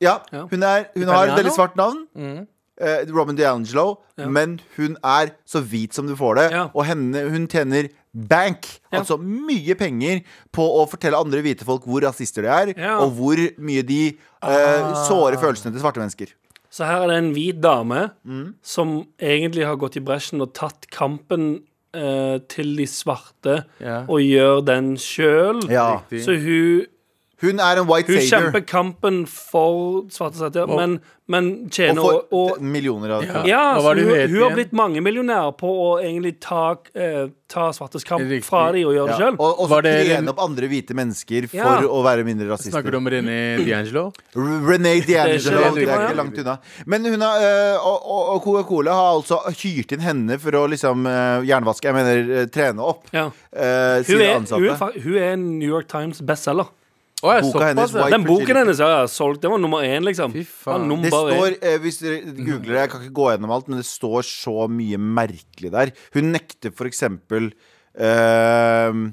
C: Ja,
D: Ja. Mm.
C: hun, er, hun har et
B: Italiano?
C: veldig svart navn. Eh, Robin DiAngelo. Men hun er så hvit som du får det.
D: Ja.
C: Og henne, hun tjener bank,
D: Ja.
C: altså mye penger, på å fortelle andre hvite folk hvor rasister de er,
D: Ja.
C: og hvor mye de eh, sårer følelsene til svarte mennesker.
D: Så her er det en hvit dame
C: Mm.
D: som egentlig har gått i bresjen og tatt kampen eh, til de svarte,
B: Ja.
D: og gjør den sjøl.
C: Ja.
B: Riktig.
D: Så hun,
C: Hun er en white
D: hun
C: savior.
D: kjemper kampen for svarte satir, men, men
C: Og
D: tjener
C: får
D: og, og
C: millioner av
B: Ja.
D: Ja,
B: Hva
D: så
B: var det
D: hun,
B: hun het
D: hun har
B: igjen?
D: blitt mangemillionær på å egentlig ta, eh, ta svartes kamp
B: Riktig.
D: fra dem og gjøre
C: Ja.
D: det sjøl.
C: Og, og så
B: Var det
C: trene
B: den-
C: opp andre hvite mennesker for
D: Ja.
C: å være mindre rasister.
B: Snakker du om René D'Angelo?
C: René D'Angelo.
D: Det er ikke
C: Det er ikke
D: langt
C: langt unna. Men hun har, øh, og- og, og Coca-Cola har altså hyrt inn henne for å liksom øh, jernvaske, jeg mener øh, trene opp
D: Ja.
C: øh,
D: Hun,
C: sine
D: er- hun, er
C: ansatte.
D: fa- hun er en New York Times bestselger.
B: Å, jeg
C: Boka hennes
B: såpass, ja.
C: White
D: Den boken
C: Fragility.
D: hennes ja, ja, solgt, den var nummer én, liksom.
B: Fy faen.
D: Den var
C: Det
D: nummer
C: står,
D: én.
C: øh, hvis dere googler det, jeg kan ikke gå gjennom alt, men det står så mye merkelig der. Hun nekter for eksempel øh,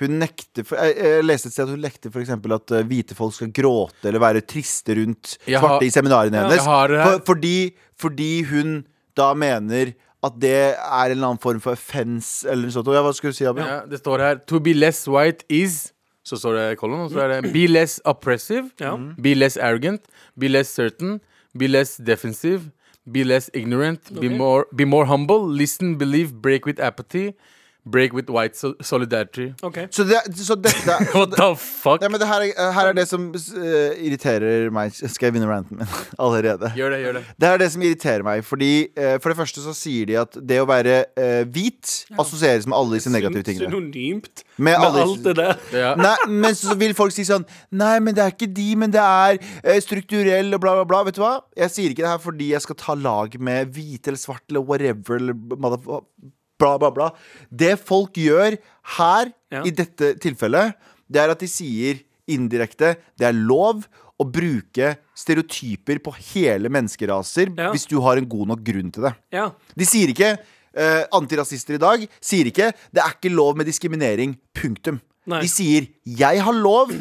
C: hun nekter for, jeg, jeg leste et sted at hun nekter for eksempel at øh, hvite folk skal gråte eller være triste rundt
B: Jeg har-
C: svarte i seminarene
B: Ja.
C: hennes.
B: Jeg har det her.
C: For, fordi, fordi hun da mener at det er en eller annen form for offens eller noe sånt. Og Ja, hva skulle du si, Abu?
B: Ja, det står her To be less white is Så står det kolon, og så er det Be less oppressive
D: Ja.
C: Mm.
B: Be less arrogant Be less certain Be less defensive Be less ignorant be, more, be more humble Listen, believe, break with apathy Break with white sol solidarity
D: Ok.
C: Så, det, så dette
B: What the fuck?
C: ja, men det her, er- her er det som eh, irriterer meg. Skal jeg begynne ranten min allerede?
B: Gjør det, gjør det
C: Det er det som irriterer meg. Fordi eh, For det første så sier de at det å være eh, hvit assosieres med alle disse negative tingene.
D: Synonymt
C: Med
D: med,
C: alle-
D: alt det der.
B: ja.
C: Nei, men så vil folk si sånn Nei, men det er ikke de, men det er eh, strukturell og bla, bla, bla. Vet du hva? Jeg sier ikke det her fordi jeg skal ta lag med hvite eller svarte eller whatever eller motherf- bla, bla, bla. Det folk gjør her,
D: Ja.
C: i dette tilfellet, det er at de sier indirekte det er lov å bruke stereotyper på hele menneskeraser
D: Ja.
C: hvis du har en god nok grunn til det.
D: Ja.
C: De sier ikke eh, Antirasister i dag sier ikke Det er ikke lov med diskriminering, punktum
D: Nei.
C: De sier, jeg har lov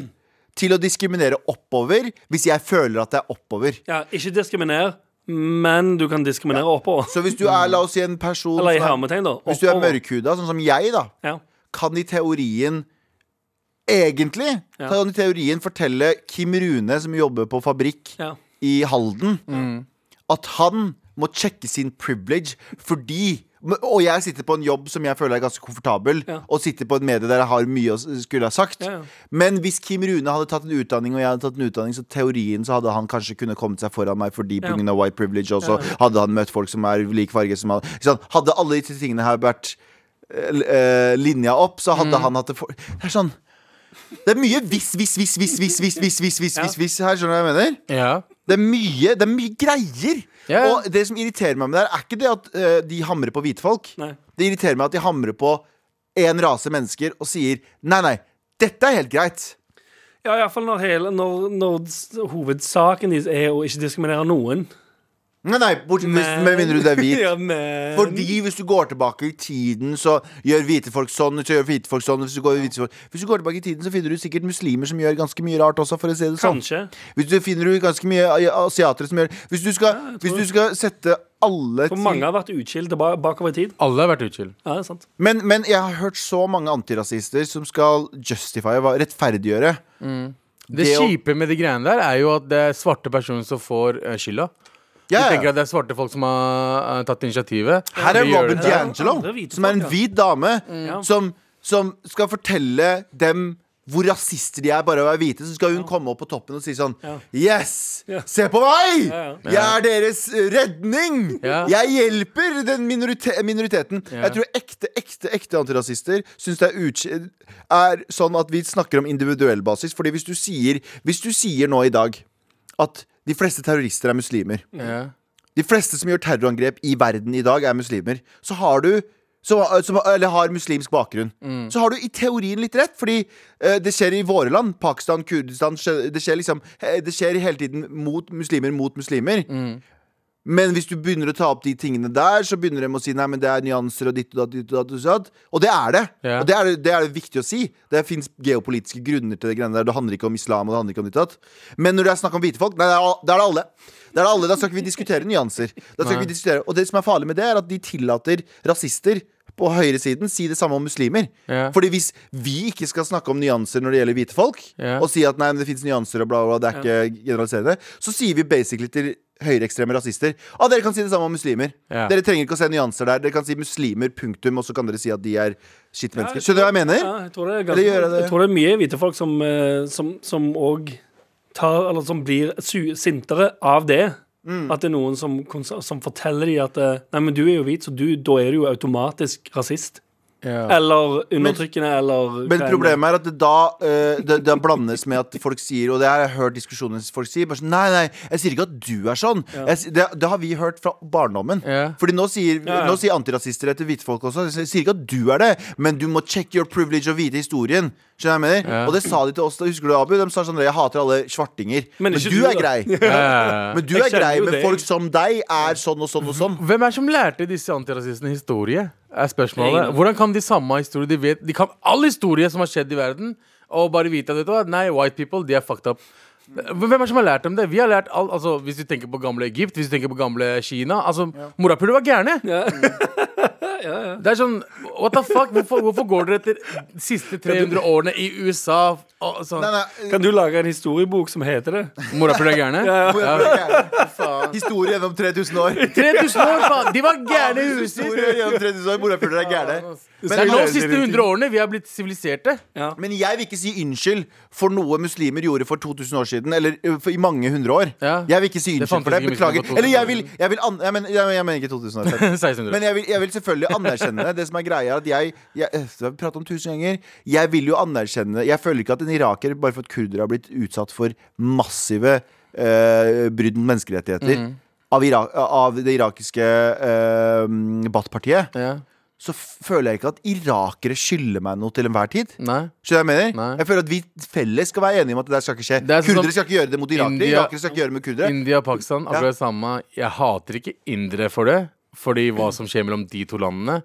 C: Til å diskriminere oppover Hvis jeg føler at det er oppover
D: ja. Ikke diskriminer, men du kan diskriminere oppover.
C: Så hvis du er, la oss si en person
D: Eller i
C: som er,
D: hermetegn, da.
C: Hvis du er
D: Oppover.
C: mørkhuda, sånn som jeg da
D: Ja.
C: Kan i teorien Egentlig
D: Ja.
C: Kan i teorien fortelle Kim Rune Som jobber på fabrikk
D: Ja.
C: i Halden
D: Mm.
C: At han må sjekke sin privilege Fordi Og jeg sitter på en jobb som jeg føler er ganske komfortabel
D: Ja.
C: Og sitter på et medie der jeg har mye å s- skulle ha sagt
D: Ja, ja.
C: Men hvis Kim Rune hadde tatt en utdanning Og jeg hadde tatt en utdanning Så teorien så hadde han kanskje kunne kommet seg foran meg Fordi på
D: Ja.
C: grunn av white privilege også Hadde han møtt folk som er lik farge som han ikke sant? Hadde alle disse tingene her vært eh, eh, Linja opp Så
D: Mm.
C: hadde han hatt det for Det er sånn det er mye hvis, hvis, hvis, hvis, hvis, hvis, hvis, hvis, hvis, hvis, hvis her, skjønner du hva jeg mener?
B: ja.
C: Det er mye, det er mye greier.
B: Ja, ja.
C: Og det som irriterer meg med det her, er ikke det at eh, de hamrer på hvite folk.
D: Nei.
C: Det irriterer meg at de hamrer på én rase mennesker og sier nei, nei, dette er helt greit.
D: Ja, iallfall når, hele- når, når s- hovedsaken deres er å ikke diskriminere noen.
C: Nei, nei, bortsett hvis, med mindre du er hvit.
D: ja, men
C: Fordi hvis du går tilbake i tiden, så gjør hvite folk sånn, så gjør hvite folk sånn. Hvis du, går, hvite folk. hvis du går tilbake i tiden, så finner du sikkert muslimer som gjør ganske mye rart også, for å si det sånn.
D: Kanskje.
C: Hvis du finner du ganske mye asiatere som gjør Hvis du skal, hvis du skal sette alle
D: For mange har vært utskilt ba- bakover i tid.
B: Alle har vært utskilt
D: Ja, det er sant.
C: Men, men jeg har hørt så mange antirasister som skal justify, hva- rettferdiggjøre.
B: Det
C: Det å-
B: kjipe med de greiene der Er jo at det er svarte personer som får eh, skylda
C: Ja,
B: Jeg
C: ja.
B: tenker at det er svarte folk som har eh, tatt initiativet
C: Her er
B: Vi gjør
C: Robin
B: det.
D: Ja,
C: D'Angelo,
D: andre hvite
C: som er en
D: folk, ja.
C: hvit dame,
D: Ja.
C: som, som skal fortelle dem hvor rasister de er bare av å være hvite, så skal hun komme opp på toppen og si sånn Yes!
D: Ja.
C: Se på meg!
D: Ja,
C: Jeg er deres redning!
B: Ja.
C: Jeg hjelper den minorite minoriteten.
B: Ja.
C: Jeg tror ekte, ekte, ekte antirasister syns det er utsk... Er sånn at vi snakker om individuell basis, fordi hvis du sier, hvis du sier nå i dag at de fleste terrorister er muslimer
B: Ja.
C: de fleste som gjør terrorangrep i verden i dag, er muslimer. Så har du som, som, eller har muslimsk bakgrunn. Så har du i teorien litt rett, fordi eh, det skjer i våre land. Pakistan, Kurdistan. skje- Det skjer, liksom, eh, det skjer hele tiden mot muslimer mot muslimer. Men hvis du begynner å ta opp de tingene der, så begynner de å si nei, men det er nyanser og ditt og datt. Ditt og, datt, og, datt. og det er det.
B: Ja.
C: Og det er det, det er det viktig å si. Det fins geopolitiske grunner til det greiene der. Det handler ikke om islam og det handler ikke om ditt og datt. Men når det er snakk om hvite folk, nei, det er, al- det er det alle. Det er det alle, Da skal ikke vi diskutere nyanser. Da skal ikke vi diskutere. Og det som er farlig med det, er at de tillater rasister på høyresiden si det samme om muslimer.
B: Ja.
C: Fordi hvis vi ikke skal snakke om nyanser når det gjelder hvite folk,
B: Ja.
C: og si at nei, men det fins nyanser og bla, bla, bla, det er ikke generaliserende, så sier vi basically til høyreekstreme rasister ah, dere kan si det samme om muslimer.
B: Ja.
C: Dere trenger ikke å se nyanser der. Dere kan si muslimer, punktum, og så kan dere si at de er skitt mennesker.
D: jeg
C: Skjønner du hva jeg mener?
D: Ja, jeg, tror det er
C: Eller
D: ganske,
C: gjør jeg det?
D: jeg tror det er mye hvite folk som eh, Som, som òg tar Eller som blir su sintere av det.
C: Mm.
D: At det er noen som, konsa- som forteller dem at eh, Nei, men du er jo hvit, så du, da er du jo automatisk rasist.
B: Ja.
D: Eller undertrykkende, eller
C: Men problemet er at det da eh, det, det blandes med at folk sier Og det har jeg hørt diskusjoner folk sier. Bare sånn, nei, nei, jeg sier ikke at du er sånn. Jeg, si- det, det har vi hørt fra barndommen.
B: Ja.
C: Fordi nå sier,
D: Ja, ja.
C: nå sier antirasister etter hvite folk også. Jeg sier ikke at du er det, men du må check your privilege og vite historien. Skjønner du hva jeg mener?
B: Ja.
C: Og det sa de til oss da. Husker du Abu? De sa sånn Jeg hater alle svartinger. Men,
D: Men ikke
C: du, er
D: du, da.
C: grei.
B: Ja.
C: Men du
D: Jeg
C: er
D: kjenner
C: grei.
D: jo
C: Men
D: det.
C: folk som deg er sånn og sånn og sånn.
B: Hvem er det som lærte disse antirasistene historie? Er spørsmålet
D: Ingen.
B: Hvordan kan de samme historie De, vet, de kan all historie som har skjedd i verden, og bare vite at vet du hva, nei, white people de er fucked up. Hvem er det som har lært dem det? Vi har lært all, altså, Hvis du tenker på gamle Egypt, hvis du tenker på gamle Kina altså, Morapuler var gærne! Det er sånn What the fuck? Hvorfor, hvorfor går dere etter de siste 300 årene i USA? Og, sånn,
C: Nei, nei.
D: Kan du lage en historiebok som heter det?
B: Morapuler er gærne?
C: Historie gjennom 3000 år.
B: 3000 år, faen! De var gærne i huset!
C: Historie gjennom 3000 år. Morapuler er gærne.
B: altså. Det er nå de siste 100 årene vi har blitt siviliserte.
D: Ja.
C: Men jeg vil ikke si unnskyld for noe muslimer gjorde for 2000 år siden. Eller ø, for, i mange hundre år.
B: Ja.
C: Jeg vil ikke si
B: fantes
C: unnskyld for det.
B: ikke muslimer
C: Beklager.
B: for 2000
C: Eller
B: år
C: jeg vil, jeg vil an jeg, men, jeg, jeg mener ikke 2000 år siden.
B: 1600.
C: Men jeg vil, jeg vil selvfølgelig anerkjenne det. Det som er greia, er at jeg, jeg øh, Det har vi pratet om tusen ganger. Jeg vil jo anerkjenne Jeg føler ikke at en iraker, bare for at kurdere har blitt utsatt for massive øh, brudd mot menneskerettigheter
B: Mm.
C: av, Ira av det irakiske øh, Baath-partiet,
B: ja.
C: så føler jeg ikke at irakere skylder meg noe til enhver tid.
B: Nei.
C: Skjønner du hva jeg mener?
B: Nei.
C: Jeg føler at vi felles skal være enige om at det der skal ikke skje.
B: Det er sånn som
C: kurdere skal ikke gjøre det mot irakere.
B: India-
C: Irakere skal ikke gjøre det med kurdere.
B: India og Pakistan, akkurat det samme. Jeg hater ikke indere for det. Fordi hva som skjer mellom de to landene.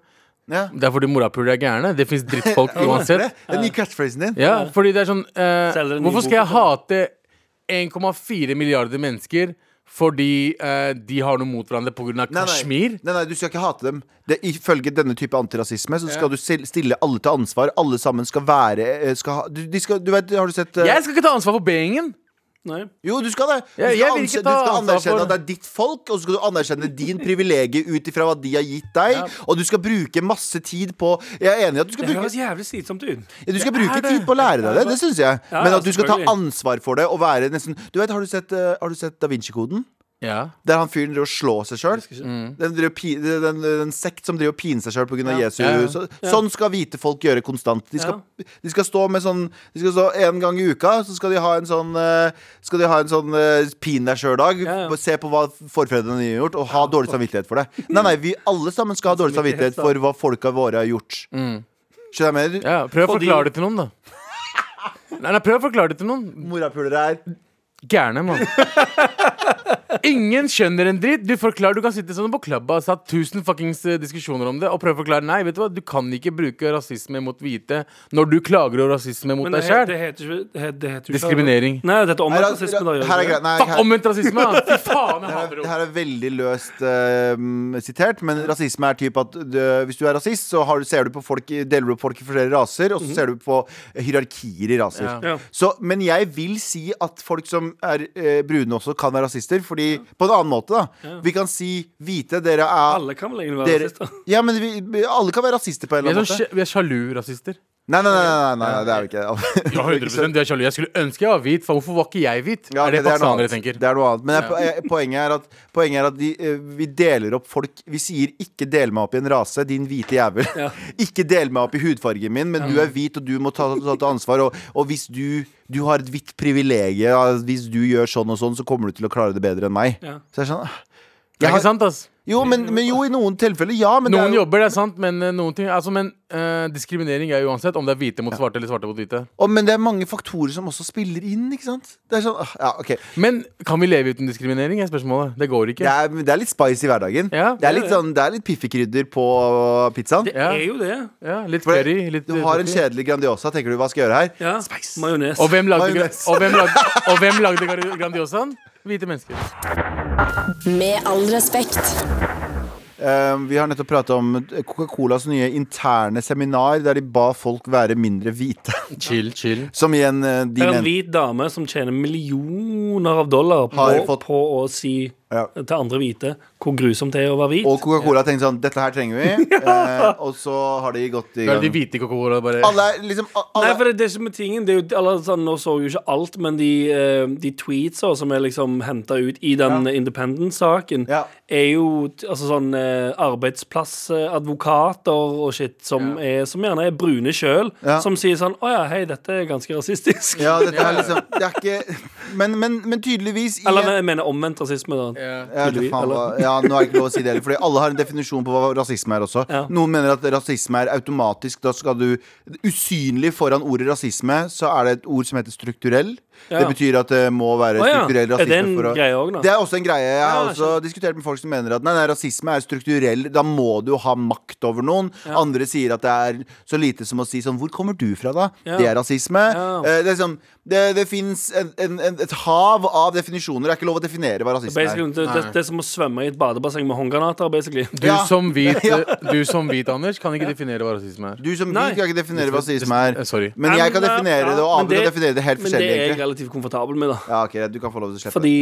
C: Ja.
B: Det er fordi morapulere er gærne. Det fins drittfolk uansett.
C: Det er den nye catchphrasen din.
B: Ja, fordi det er sånn eh,
D: Selger en ny
B: Hvorfor skal jeg
D: bok,
B: hate 1,4 milliarder mennesker fordi eh, de har noe mot hverandre pga.
C: Nei, nei.
B: Kashmir?
C: Nei, nei, du skal ikke hate dem. Det, ifølge denne type antirasisme så skal du stil- stille alle til ansvar. Alle sammen skal være eh, skal ha, du, de skal, du vet, Har du sett eh,
B: Jeg skal ikke ta ansvar for B-gjengen!
D: Nei.
C: Jo, du skal det.
B: Jeg-
C: Du skal,
B: jeg vil ikke
C: anse-
B: ta
C: du
B: ansvar
C: skal
B: for-
C: anerkjenne at det er ditt folk, og så skal du anerkjenne din privilegium ut ifra hva de har gitt deg. Og du skal bruke masse tid på Jeg er enig i at du skal
D: Det
C: bruke
D: høres jævlig slitsomt ut.
C: Ja, Du skal
D: Det er
C: bruke
D: det.
C: tid på å lære deg det, det syns jeg.
D: Ja,
C: Men
D: ja,
C: at du skal ta
D: selvfølgelig.
C: ansvar for det og være nesten Du vet, Har du sett, eh, har du sett Da Vinci-koden?
B: Ja.
C: Der han fyren driver og slår seg sjøl.
B: Mm.
C: Den, driver og pi- den, den, den sekt som driver og piner seg sjøl pga. av
D: Ja.
C: Jesus.
B: Ja, ja.
C: Så, sånn skal hvite folk gjøre konstant. De skal, de skal stå med sånn De skal stå en gang i uka, så skal de ha en sånn eh, Skal de ha en sånn eh, pin deg sjøl-dag.
D: Ja, ja.
C: Se på hva forfedrene dine har gjort, og ha dårlig samvittighet for det. Nei, nei, vi alle sammen skal ha dårlig samvittighet for hva folka våre har gjort. Skjønner du hva jeg mener?
B: Mm. ja. Prøv å
D: Fordi-
B: forklare det til noen, da. Nei, nei, prøv å forklare det til noen.
C: Morapulere er
B: Gærne, mann. Ingen skjønner en dritt. Du forklarer, du kan sitte sånn på klubba og hatt tusen fuckings eh, diskusjoner om det og prøve å forklare Nei, vet du hva, du kan ikke bruke rasisme mot hvite når du klager over rasisme mot
D: Men det,
B: deg
D: he-
B: sjøl.
D: det heter ikke det he- det heter jo ikke-
B: Diskriminering.
D: Nei, dette er omvendt
C: Her er-
D: rasisme. da, gjør det
C: her er
D: ikke det?
C: greit. Nei,
B: Fuck
C: her-
B: omvendt rasisme! da. Fy faen, jeg hater
C: Det
B: det.
C: her er veldig løst eh, sitert, men rasisme er typ at du- hvis du er rasist, så har, du- ser du på folk, i- deler du opp folk i forskjellige raser, og så ser du på hierarkier i raser.
B: Mhm. Ja.
D: Ja.
C: Så, men jeg vil si at folk som er eh, brune også kan være rasister, fordi på en annen måte, da. Vi kan si hvite, dere er
D: Alle kan vel egentlig være
C: dere,
D: rasister?
C: ja, men vi, alle kan være rasister på en
B: Vi
C: eller
B: er,
C: annen
B: sånn,
C: måte.
B: sj- vi er sjalu rasister.
C: Nei, nei, nei, nei, nei, det er jo ikke
B: Ja, 100 du er sjalu. Jeg skulle ønske jeg var hvit, for hvorfor var ikke jeg hvit?
C: Ja,
B: er det
C: ok, noe
B: pakistanere
C: annet.
B: tenker?
C: Det er noe annet. Men jeg, jeg, poenget er at, poenget er at de, eh, vi deler opp folk Vi sier 'ikke del meg opp i en rase, din hvite jævel'. ikke del meg opp i hudfargen min, men du er hvit, og du må ta, ta, ta ansvar. Og, og hvis du, du har et hvitt privilegium, ja, hvis du gjør sånn og sånn, så kommer du til å klare det bedre enn meg.
D: Ja.
C: Så jeg er sånn ah.
B: Det
C: jeg
B: er
C: har-
B: ikke sant, ass.
C: Jo, men, men jo, i noen tilfeller, ja. Men
B: Noen
C: det er jo,
B: jobber, det er sant, men eh, noen ting Altså, men eh, diskriminering er uansett om det er hvite mot svarte eller svarte mot hvite.
C: og, men det er mange faktorer som også spiller inn, ikke sant? Det er sånn, ah, ja, ok
B: Men kan vi leve uten diskriminering, er spørsmålet. Det går
C: Det
B: ikke.
C: er, det er litt spice i hverdagen.
B: Ja,
C: det, er litt sånn, det er litt piffikrydder på pizzaen.
D: Det
B: Ja.
D: er jo det.
B: Ja, litt
C: For det-
B: curry. Litt,
C: Du har en
B: litt-
C: kjedelig Grandiosa. Tenker du hva skal jeg gjøre her?
D: Ja. Majones.
B: Og hvem lagde, gra-
C: Majones.
B: og hvem lagde, og hvem lagde gra- Grandiosaen? Hvite mennesker.
A: Med all respekt.
C: Eh, vi har nettopp pratet om Coca-Colas nye interne seminar, der de ba folk være mindre hvite.
B: Chill, chill.
C: Som igjen eh, de
D: Det er en
C: mente
D: hvit dame som tjener millioner av dollar på,
C: Har fått-
D: på å si
C: Ja.
D: til andre hvite hvor grusomt det er å være hvit.
C: Og Coca-Cola tenkte sånn Dette her trenger vi. Eh, og så har de gått i
B: Da er det de
C: gang.
B: hvite i Coca-Cola bare
C: Alle er liksom a-
D: Nei,
C: alle,
D: for det, det som er tingen det er jo, alle, sånn, Nå så jeg jo ikke alt, men de, eh, de tweetsa som er liksom henta ut i den Independent-saken,
C: Ja.
D: er jo t- altså, sånn eh, arbeidsplassadvokater og shit som, er, som gjerne er brune sjøl,
C: Ja.
D: som sier sånn Å ja, hei, dette er ganske rasistisk.
C: Ja, dette er liksom Det er ikke Men, men, men tydeligvis i-
D: Eller jeg mener omvendt rasisme, da.
C: Ja, det
D: Tydeligvis,
C: faen, hva- ja, nå er det ikke lov å si det heller, Fordi alle har en definisjon på hva rasisme er også.
D: Ja.
C: Noen mener at rasisme er automatisk. Da skal du Usynlig foran ordet rasisme, så er det et ord som heter strukturell.
D: Ja.
C: Det betyr at det må være
D: Å ja,
C: strukturell
D: er det
C: rasisme.
D: en
C: for å,
D: greie også, da?
C: Det er også en greie. Jeg har
D: Ja,
C: også diskutert med folk som mener at nei, nei, rasisme er strukturell. Da må du ha makt over noen. Andre sier at det er så lite som å si sånn Hvor kommer du fra, da?
D: Ja.
C: Det er rasisme.
D: Ja.
C: Eh, Det, er sånn, det, det fins en, en, en, et hav av definisjoner. Det er ikke lov å definere hva rasisme er.
D: Basically, det, det, det er som å svømme i et badebasseng med håndgranater, basically.
B: Du,
C: Ja.
B: som hvit, du som hvit, Anders, kan ikke definere hva rasisme er.
C: Du som
D: Nei.
C: hvit kan ikke definere hva rasisme er.
B: Eh, Sorry.
C: Men
D: Nei,
C: jeg kan
D: men,
C: definere
D: ja,
C: det, og
D: men
C: Abu kan definere det helt
D: Men det
C: forskjellig.
D: er jeg
C: egentlig.
D: relativt komfortabel med, da.
C: Ja, ok, greit, du kan få lov til å slippe
D: Fordi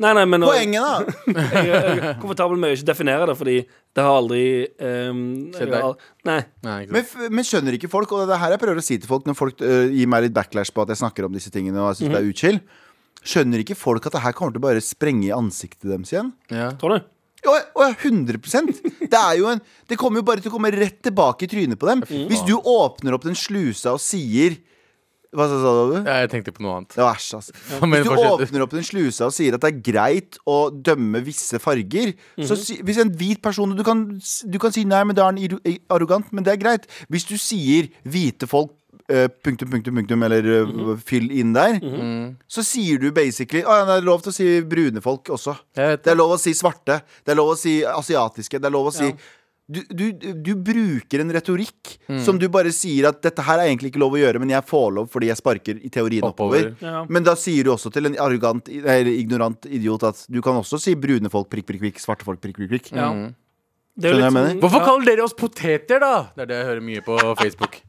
D: Nei, nei, men
C: det. Poenget, da!
D: jeg, jeg er komfortabel med å ikke definere det, fordi det har aldri um,
B: Skjedd
D: jeg har
B: deg?
D: al- Nei.
B: Nei, ikke
C: Men,
B: sant.
C: f men skjønner ikke folk, og det er her jeg prøver å si til folk når folk øh, gir meg litt backlash på at jeg snakker om disse tingene og jeg syns
D: Mhm.
C: det er utskill. Skjønner ikke folk at det her kommer til å bare sprenge i ansiktet deres igjen?
B: Ja.
D: Tror du?
C: Å, å, 100 Det er jo en Det kommer jo bare til å komme rett tilbake i trynet på dem. Hvis du åpner opp den slusa og sier Hva sa sa du?
B: Ja, Jeg tenkte på noe annet.
C: Det var æsj, altså.
B: Men
C: Hvis du
B: fortsett.
C: åpner opp den slusa og sier at det er greit å dømme visse farger Så si, Hvis en hvit person du kan, s- du kan si nei, men da er han iru- i- arrogant, men det er greit. Hvis du sier hvite folk eh, punktum, punktum, punktum, eller eh, fyll inn der, så sier du basically Å ja, det er lov til å si brune folk også.
B: Jeg vet
C: Det er lov å si svarte. Det er lov å si asiatiske. Det er lov å si du, du, du bruker en retorikk som du bare sier at dette her er egentlig ikke lov å gjøre, men jeg får lov fordi jeg sparker i teorien oppover.
B: Oppover.
D: Ja.
C: Men da sier du også til en arrogant, eller ignorant idiot at du kan også si brune folk, prikk, prikk, prikk, svarte folk, prikk, prikk, prikk.
D: Ja.
B: Mm.
D: Det
C: Skjønner jeg
D: sånn-
C: mener?
B: Hvorfor
D: ja.
B: kaller dere oss poteter, da? Det er det jeg hører mye på Facebook.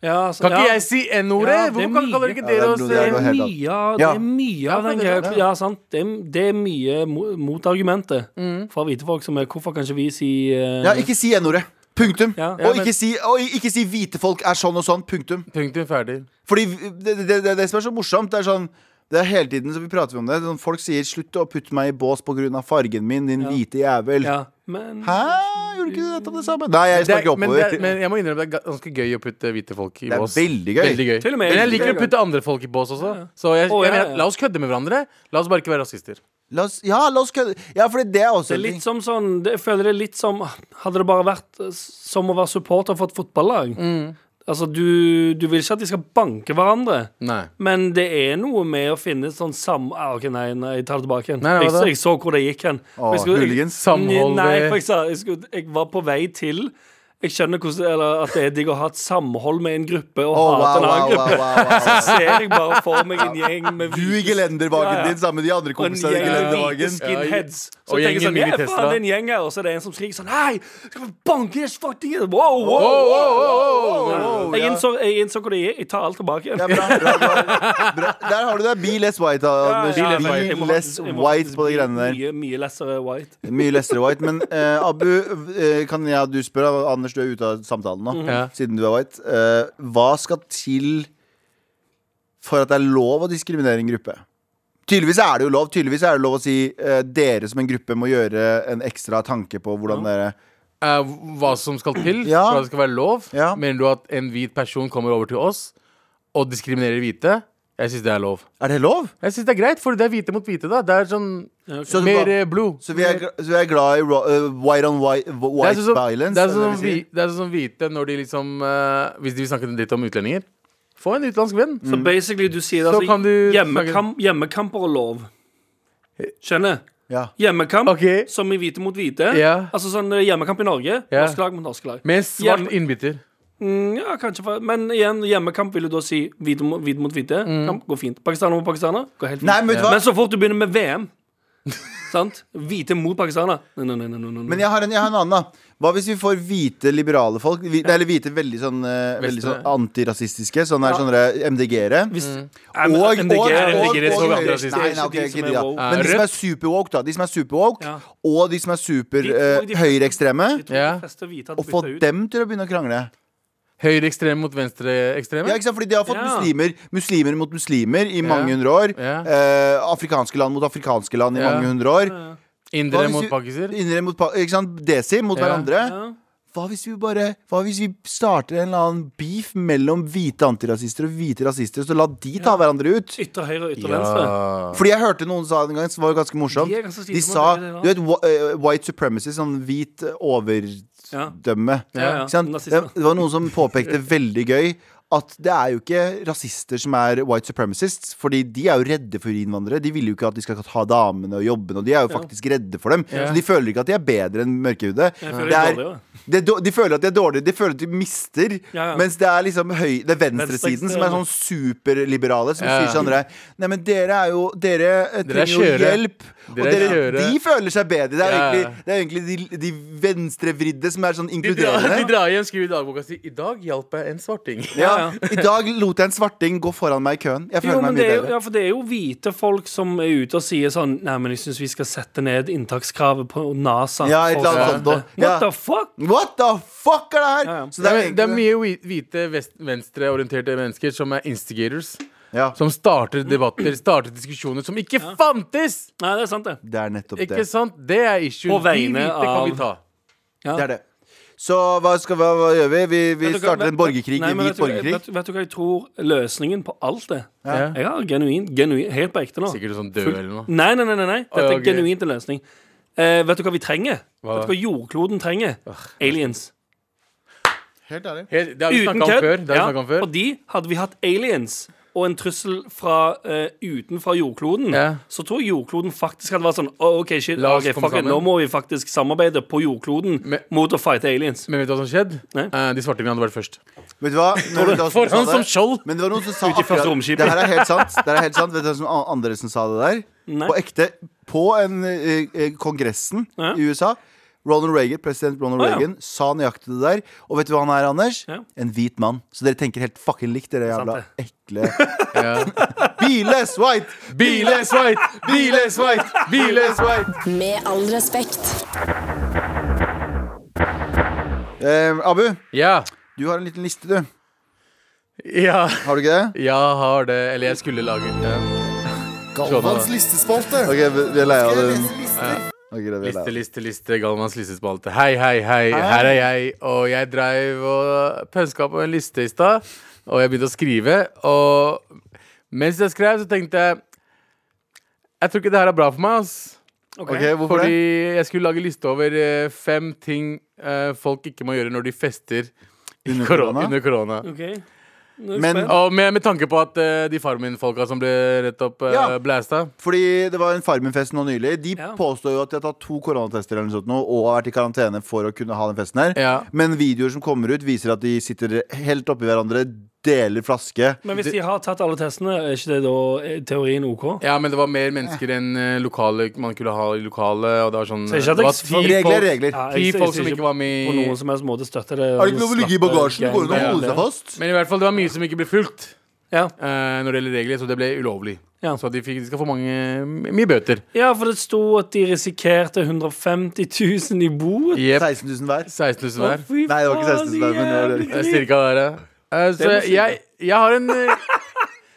D: ja, så,
B: Kan ikke
D: ja.
B: jeg si N-ordet?
D: Ja, det er
B: Hvorfor kan-
D: mye.
B: kaller ikke
C: Ja, det er
B: dere oss
C: blodig,
D: det
B: eh,
C: jeg går
D: er
C: helt av.
D: mye, det
C: Ja.
D: er mye av
B: Ja,
D: den
B: det er det.
D: greia. Ja, sant. Det er, det er mye mo- motargumenter
B: Mm.
D: fra hvite folk som er Hvorfor kan ikke vi si eh,
C: Ja, ikke si n-ordet. Punktum.
D: Ja.
C: og,
D: Ja, men-
C: ikke si, og ikke si hvite folk er sånn og sånn. Punktum.
B: Punktum ferdig.
C: Fordi det, det, det, det som er så morsomt, det er sånn det er hele tiden så vi prater om det. Sånn, folk sier 'slutt å putte meg i bås pga. fargen min, din hvite jævel'.
D: ja, men,
C: Hæ? Gjorde ikke du nettopp det samme? Nei, jeg
B: Det er,
C: snakker
B: men,
C: oppover.
B: det er, men jeg må innrømme det er ga- ganske gøy å putte hvite folk i
C: Det er
B: bås.
C: veldig gøy.
D: Til og med
B: Men jeg
D: veldig
B: liker å
D: gøy.
B: putte andre folk i bås også. Så jeg,
D: Å, ja,
B: jeg-
D: ja.
B: la oss kødde med hverandre. La oss bare ikke være rasister.
C: La oss, ja, la oss kødde. Ja, for det er også
D: Det er
C: en ting.
D: litt som sånn det, Jeg føler det er litt som Hadde det bare vært eh, som å være supporter for et fotballag.
B: Mm.
D: Altså, du, du vil ikke at de skal banke hverandre,
B: Nei.
D: men det er noe med å finne sånn sam... Ah, OK, nei, nei, jeg tar det tilbake igjen.
B: Nei, nei,
D: jeg,
B: hva da?
D: så- jeg så hvor det gikk hen.
C: Å,
D: Jeg skulle-
C: hooligans.
B: Samhold,
D: Nei,
B: eh.
D: for jeg, sa, jeg, skulle, jeg var på vei til Jeg skjønner hvordan, eller, at det er digg å ha et samhold med en gruppe og
C: Å, wow,
D: hate
C: wow,
D: en annen
C: wow,
D: gruppe.
C: wow, wow.
D: Så ser jeg bare for meg en gjeng med
C: Du i gelendervagen
D: Ja, ja.
C: din sammen med de andre
D: og en
C: kompisene i
D: gjeng med hvite
C: gelendervagen.
D: skinheads.
B: Ja,
D: Så
B: og
D: tenker jeg
B: gjengen
D: sånn, ja,
B: Mini Tesla.
D: faen, det er en gjeng her Og så er det en som skriker sånn Hei, skal vi banke deres fucking Wow, wow,
B: Wow,
D: wow,
B: wow,
D: wow,
B: wow, wow.
C: wow,
D: Jeg
C: ja.
D: innså, jeg innså hvor det er Jeg tar alt tilbake
C: Ja,
D: igjen
C: bra, bra, bra, bra. Der har du det. Be less white. Anders.
D: Ja, ja,
C: Be
D: jeg må
C: less
D: faktisk- jeg må
C: white
D: faktisk
C: på de
D: bli
C: greiene der.
D: Mye, mye lessere white
C: Mye lessere white. Men eh, Abu, eh, kan jeg og du spørre? Anders Anders, du er ute av samtalen
D: Mhm.
C: nå,
B: Ja.
C: siden du er white. Eh, hva skal til for at det er lov å diskriminere en gruppe? Tydeligvis er det jo lov Tydeligvis er det lov å si eh, dere som en gruppe må gjøre en ekstra tanke på hvordan dere
B: Eh, hva som skal til
C: Ja.
B: for at det skal være lov.
C: Ja.
B: Mener du at en hvit person kommer over til oss og diskriminerer hvite? Jeg syns det er lov.
C: Er det lov?
B: Jeg synes det er greit, for det er hvite mot hvite. da Det er sånn
C: Så,
B: mer eh, blod.
C: så, vi, er, gl- så vi er glad i ro- eh, white on white,
B: det er
C: white
B: sånn som,
C: violence?
B: det er
C: er
B: sånn som,
C: vi
B: vi-
C: sier?
B: det er sånn som hvite når de liksom eh, Hvis de vil snakke dritt om utlendinger, få en utenlandsk venn.
D: Så basically du sier
B: Så
D: altså
B: kan du-
D: hjemmekam- hjemmekamper og lov. Skjønner?
C: ja.
D: Hjemmekamp
B: Ok.
D: som i hvite mot hvite.
B: Ja.
D: Altså sånn eh, hjemmekamp i Norge.
B: Ja.
D: Norsk lag mot norsk lag.
B: Med en svart
D: Hjem-
B: innbytter.
D: Mm, ja, kanskje for, Men igjen, hjemmekamp vil jo da si hvite mot hvite. Mot hvite. Kamp går fint. Pakistaner mot pakistaner går helt fint.
C: Nei, men vet du hva?
D: Men så fort du begynner med VM Sant? Hvite mot pakistaner. Nei, nei, nei, nei, nei, nei.
C: Men jeg har, en, jeg har en annen, da. Hva hvis vi får hvite liberale folk? Vi, Eller hvite veldig sånn, eh, veldig sånn
B: Vestre.
C: antirasistiske? sånn Sånne, sånne MDG-ere.
D: Hvis,
C: Og,
D: Nei, men
C: og,
D: MDG
C: og,
D: er-
B: MDG er så
C: og-
B: veldig
C: Nei,
B: rasistiske.
C: nei, ok,
D: Det er de
C: ikke
D: som
C: de,
D: er
C: da.
D: woke.
C: Men de som
B: Rødt.
C: er superwoke, da. De som er superwoke,
D: Ja.
C: og de som er super
D: De- og
C: eh,
D: de-
C: høyreekstreme.
D: Jeg tror
B: Ja.
D: de fleste hvite
C: Og
D: hadde
C: få
D: byttet ut.
C: dem til å begynne å krangle.
B: Høyreekstreme mot
C: Ja,
B: venstreekstreme.
C: ikke sant? Fordi de har fått
D: Ja.
C: muslimer, muslimer mot muslimer i mange hundre år.
B: Ja.
C: Eh, afrikanske land mot afrikanske land i
B: Ja.
C: mange hundre år.
D: eh,
C: Hva
B: Indere
C: hvis
B: mot
C: vi-
B: pakiser.
C: Indre mot pa- ikke sant? Desi mot
B: Ja.
C: hverandre.
D: Ja.
C: Hva hvis vi bare Hva hvis vi starter en eller annen beef mellom hvite antirasister og hvite rasister, så la de ta hverandre ut?
D: Ytre høyre og
B: Sånn,
D: ytre venstre.
B: Ja.
C: Fordi jeg hørte noen sa det en gang, som var ganske morsomt.
D: De er ganske slitsomme,
C: De sa
D: det er det,
C: Du vet, wh- eh, white supremacy, sånn hvit
D: Ja.
C: overdømme.
D: Ja, ja.
C: Ikke sant? Det,
D: Nazister.
C: det var noen som påpekte veldig gøy at det er jo ikke rasister som er white supremacists, fordi de er jo redde for innvandrere. De vil jo ikke at de skal ha damene og jobbene, og de er jo faktisk redde for dem. Så de føler ikke at de er bedre enn mørkehudet.
D: Jeg
C: Det
D: føler de
C: er-
D: er dårligere.
C: det er dår- De føler at de er dårligere, de føler at de mister.
D: Ja, ja.
C: Mens det er liksom høy, det er venstresiden som er sånn superliberale, som
B: Ja.
C: sier til andre Nei, men dere er jo Dere eh,
B: Dere er
C: trenger jo
B: skjøre.
C: hjelp. Og
B: Dere er
C: dere,
B: skjøre.
C: de føler seg bedre. Det er
B: Ja.
C: egentlig, det er egentlig de, de venstrevridde som er sånn
B: De drar, de
C: inkluderende.
B: drar hjem, skriver i dagboka si 'I dag hjalp jeg en svarting'.
C: Ja,
D: Ja,
C: I dag lot jeg en svarting gå foran meg i køen. Jeg føler
D: Jo, men
C: meg
D: det
C: mye
D: er jo,
C: bedre.
D: ja, for det er jo hvite folk som er ute og sier sånn Nei, men jeg syns vi skal sette ned inntakskravet på NASA.
C: Ja, et
D: for
C: eller annet sånt
D: studenter.»
C: nå. Ja.
D: What the fuck?
C: What the fuck er det her?!
D: Ja, ja.
C: Så
B: Det er,
C: egentlig
B: det er mye hvi- hvite vest- venstreorienterte mennesker som er instigators.
C: ja,
B: Som starter debatter, starter diskusjoner som ikke fantes!
D: Nei, det er sant, det.
C: det er nettopp
B: Ikke
C: det.
B: sant? Det er issue.
D: På
B: De
D: vegne
B: hvite kan vi
D: av-
B: ta.
C: det, er det. Så hva, skal, hva, hva gjør vi? Vi, vi
D: Vet du hva-
C: starter
D: vet-
C: en borgerkrig,
D: Nei,
C: en
D: men
C: hvit
D: vet du hva-
C: borgerkrig.
D: Vet, vet du hva jeg tror løsningen på alt det?
B: Ja.
D: Jeg har genuin, genuin, helt på ekte nå.
B: Sikkert sånn død eller noe.
D: Nei, nei, nei, nei, nei.
B: Å,
D: Dette
B: ja,
D: er
B: ok.
D: genuint en løsning. Eh, vet du hva vi trenger?
B: Hva da?
D: Vet du hva jordkloden trenger? Aliens.
C: Helt ærlig.
B: Helt, det har vi
D: Uten
B: snakka om før.
D: kødd.
B: Det har
D: Ja,
B: vi snakket om før.
D: fordi hadde vi hatt aliens og en trussel fra eh, utenfra jordkloden,
B: Ja.
D: så tror jeg jordkloden faktisk hadde vært sånn oh, OK, shit,
B: La oss
D: ok,
B: komme
D: fuck it,
B: sammen.»
D: nå må vi faktisk samarbeide på jordkloden
B: Men-
D: mot å fighte aliens.
B: Men vet du hva som skjedde?
D: Nei.
B: Eh, de svartingene hadde vært først.
C: Vet du hva? Nå vet du hva som
B: Foran
C: sa sånn det.
B: som skjold!
C: Men det var noen som sa
D: Ut i første
C: akkurat
D: romskip.
C: Det her er helt sant. Det her er helt sant. Vet du hvem som an- andre som sa det der?
D: Nei.
C: På ekte. På en, eh, eh, kongressen
D: Ja.
C: i USA. Ronald Reagan, President Ronald
D: Å, ja.
C: Reagan sa nøyaktig det der. Og vet du hva han er, Anders?
D: Ja.
C: En hvit mann. Så dere tenker helt fucking likt, dere
D: sant,
C: jævla ekle Biles white!
B: Biles white! Biles white! Biles
C: Biles white!
A: Med all respekt.
C: Eh, Abu,
B: Ja.
C: du har en liten liste, du.
B: Ja,
C: Har du ikke det?
B: jeg har det. Eller jeg skulle lage det. Galvans
E: listespalte.
C: Ok, vi vi er lei av den. Ok, det er vi er lei av.
B: Liste, liste, liste. Galvans listespalte. Hei, hei, hei. Her er jeg. Og jeg dreiv og pønska på en liste i stad, og jeg begynte å skrive. Og mens jeg skrev, så tenkte jeg Jeg tror ikke det her er bra for meg, ass.
C: Ok, Eh, hvorfor
B: Fordi
C: det?
B: jeg skulle lage liste over eh, fem ting eh, folk ikke må gjøre når de fester
C: Under
B: koro-
C: korona?
B: under korona.
D: OK. Nå er jeg
C: Men-
D: spent.
B: Og med, med tanke på at eh, de Farmen folka som ble rett opp uh,
C: Ja.
B: blasta
C: Fordi det var en Farmen-fest nå nylig. De
D: Ja.
C: påstår jo at de har tatt to koronatester eller noe sånt nå, og har vært i karantene for å kunne ha den festen her.
B: Ja.
C: Men videoer som kommer ut, viser at de sitter helt oppi hverandre, deler flaske.
D: Men hvis de har tatt alle testene, er ikke det da eh, teorien OK?
B: Ja, men det var mer mennesker enn eh, lokale man kunne ha i lokale. Og det var sånn
D: Så ikke at
B: det var
D: jeg-
B: ti
C: Regler er
B: folk-
C: regler.
D: Ja,
B: Ti
D: jeg- jeg
B: folk
D: ser
B: som ikke var med
D: På noen
B: i
D: som helst måte støtter det.
C: Er det ikke lov å ligge i bagasjen? Det går an å
B: Ja.
C: holde seg fast.
B: Men i hvert fall, det var mye som ikke ble fulgt.
D: Ja.
B: eh, når det gjelder regler, så det ble ulovlig.
D: Ja.
B: Så de, fikk, de skal få mange, mye bøter.
D: ja, for det sto at de risikerte 150 000 i bot.
B: Jepp.
C: 16 000 hver.
B: 16 000 hver.
C: Nei, det
D: Fy
C: var ikke
D: faen,
C: 16 000 men det var-
D: jævlig
B: Det er
D: dritt.
B: Cirka der, ja. Eh, så
C: må
B: jeg, jeg, jeg har en eh,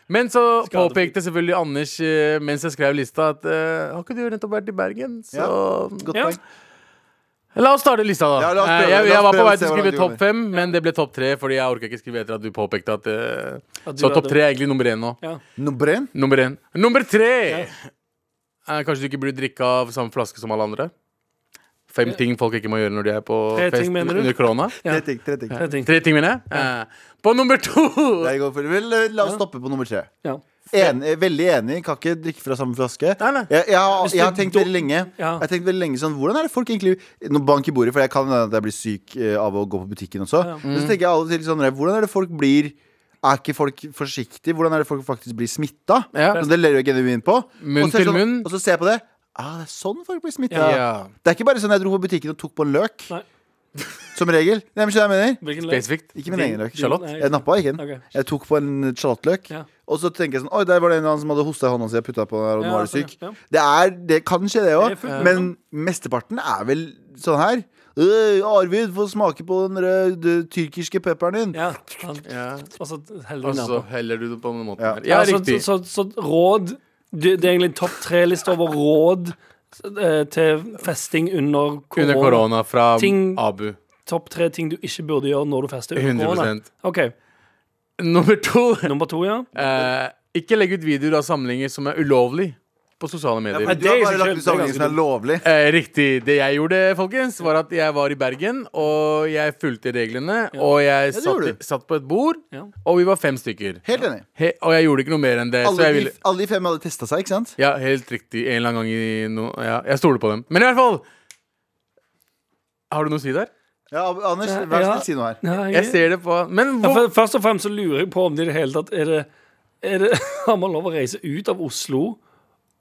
B: Men så påpekte selvfølgelig Anders eh, mens jeg skrev lista, at eh, har ikke du nettopp vært i Bergen? Så
C: Godt
D: Ja.
C: poeng.
B: La oss starte lista, da.
C: Ja, la oss
B: Eh,
C: prøve,
B: jeg,
C: la
B: jeg
C: oss
B: var på
C: prøve
B: vei
C: å se
B: til å skrive
C: hvordan du
B: topp
C: kommer.
B: fem, men det ble topp tre, fordi jeg orka ikke skrive etter at du påpekte at eh,
D: At du
B: Så
D: hadde-
B: topp tre er egentlig nummer én nå.
D: Ja.
C: Nummer én.
B: Nummer én. Nummer tre! Eh, kanskje du ikke burde drikke av samme flaske som alle andre? Fem ting folk ikke må gjøre når de er på
D: Tre ting,
B: fest
D: mener du?
B: under korona.
D: Ja.
C: Tre ting. Tre ting.
D: Jeg tenkte,
B: Tre ting, mener jeg. Eh, på nummer to!
C: Der går for- Vel, la oss stoppe på nummer tre.
D: ja.
C: Enig, eh, veldig enig. Kan ikke drikke fra samme flaske.
B: Nei, nei.
C: Jeg, jeg, har,
D: Hvis du
C: jeg har tenkt
D: dum-
C: veldig lenge Jeg
D: Ja.
C: har tenkt veldig lenge sånn Hvordan er det folk egentlig Nå bank i bordet, for jeg kan hende at jeg blir syk eh, av å gå på butikken også. Men
B: Mm.
C: så tenker jeg av og til sånn Hvordan er det folk blir Er ikke folk forsiktige? Hvordan er det folk faktisk blir smitta?
B: Ja.
C: Så Det ler jeg genuint på.
B: Munn
C: Og så er det
B: til
C: sånn,
B: munn.
C: Og så ser jeg på det. Ah, det er sånn folk blir smitta.
B: Ja.
C: Det er ikke bare sånn jeg dro på butikken og tok på en løk.
D: Nei.
C: Som regel. Nei, men skjønner du hva jeg mener?
D: Hvilken løk?
B: Spesifikt.
C: Ikke min egen løk.
B: Charlotte?
D: Nei,
C: Jeg nappa ikke den.
D: Ok.
C: Jeg tok på en sjalottløk.
D: Ja.
C: Og så tenker jeg sånn Oi, der var det en eller annen som hadde hosta i hånda si. Jeg putta på den her, og
D: Ja,
C: nå er du
D: sånn,
C: syk.
D: ja.
C: Det, er, det kan skje, det
D: Det er
C: òg.
D: fullt
C: Men mesteparten er vel sånn her. «Øh, Arvid, få smake på den røde den tyrkiske pepperen din.
D: Ja, sant. Altså,
B: Ja.
D: Og så heller
B: Og
D: du
B: så
D: nedpå.
B: heller du det på den måten.
C: Ja.
B: her. Ja,
D: Ja, så-
B: riktig.
D: Så, så, så råd Det det er egentlig en topp tre-liste over råd eh, til festing under
B: Under
D: korona.
B: korona fra
D: Ting-
B: Abu.
D: Topp tre ting du ikke burde gjøre når du fester under korona.
B: 100
D: OK,
B: Nummer to.
D: nummer to, ja.
B: Eh, ikke legg ut videoer av samlinger som er ulovlig på sosiale medier.
C: Men du har
D: det er
C: bare
D: ikke-
C: lagt ut sammenligning som er lovlig.
B: Eh, riktig. Det jeg gjorde, folkens, var at jeg var i Bergen, og jeg fulgte reglene. Og jeg satt,
C: gjorde du.
B: satt på et bord,
D: Ja.
B: og vi var fem stykker.
C: Helt enig.
B: He og jeg gjorde ikke noe mer enn det. Så
C: Alle
B: jeg
C: de,
B: ville
C: alle de fem hadde testa seg, ikke sant?
B: Ja, helt riktig. En eller annen gang i no ja, Jeg stoler på dem. Men i hvert fall Har du noe å si der?
C: Ja, Ab- Anders,
D: Ja,
C: vær så
D: ja.
C: snill, si noe her.
D: Nei,
B: Jeg ser det på Men
D: Ja,
B: hvor
D: for- Først og fremst så lurer jeg på om det i det hele tatt er det, er det, Har man lov å reise ut av Oslo?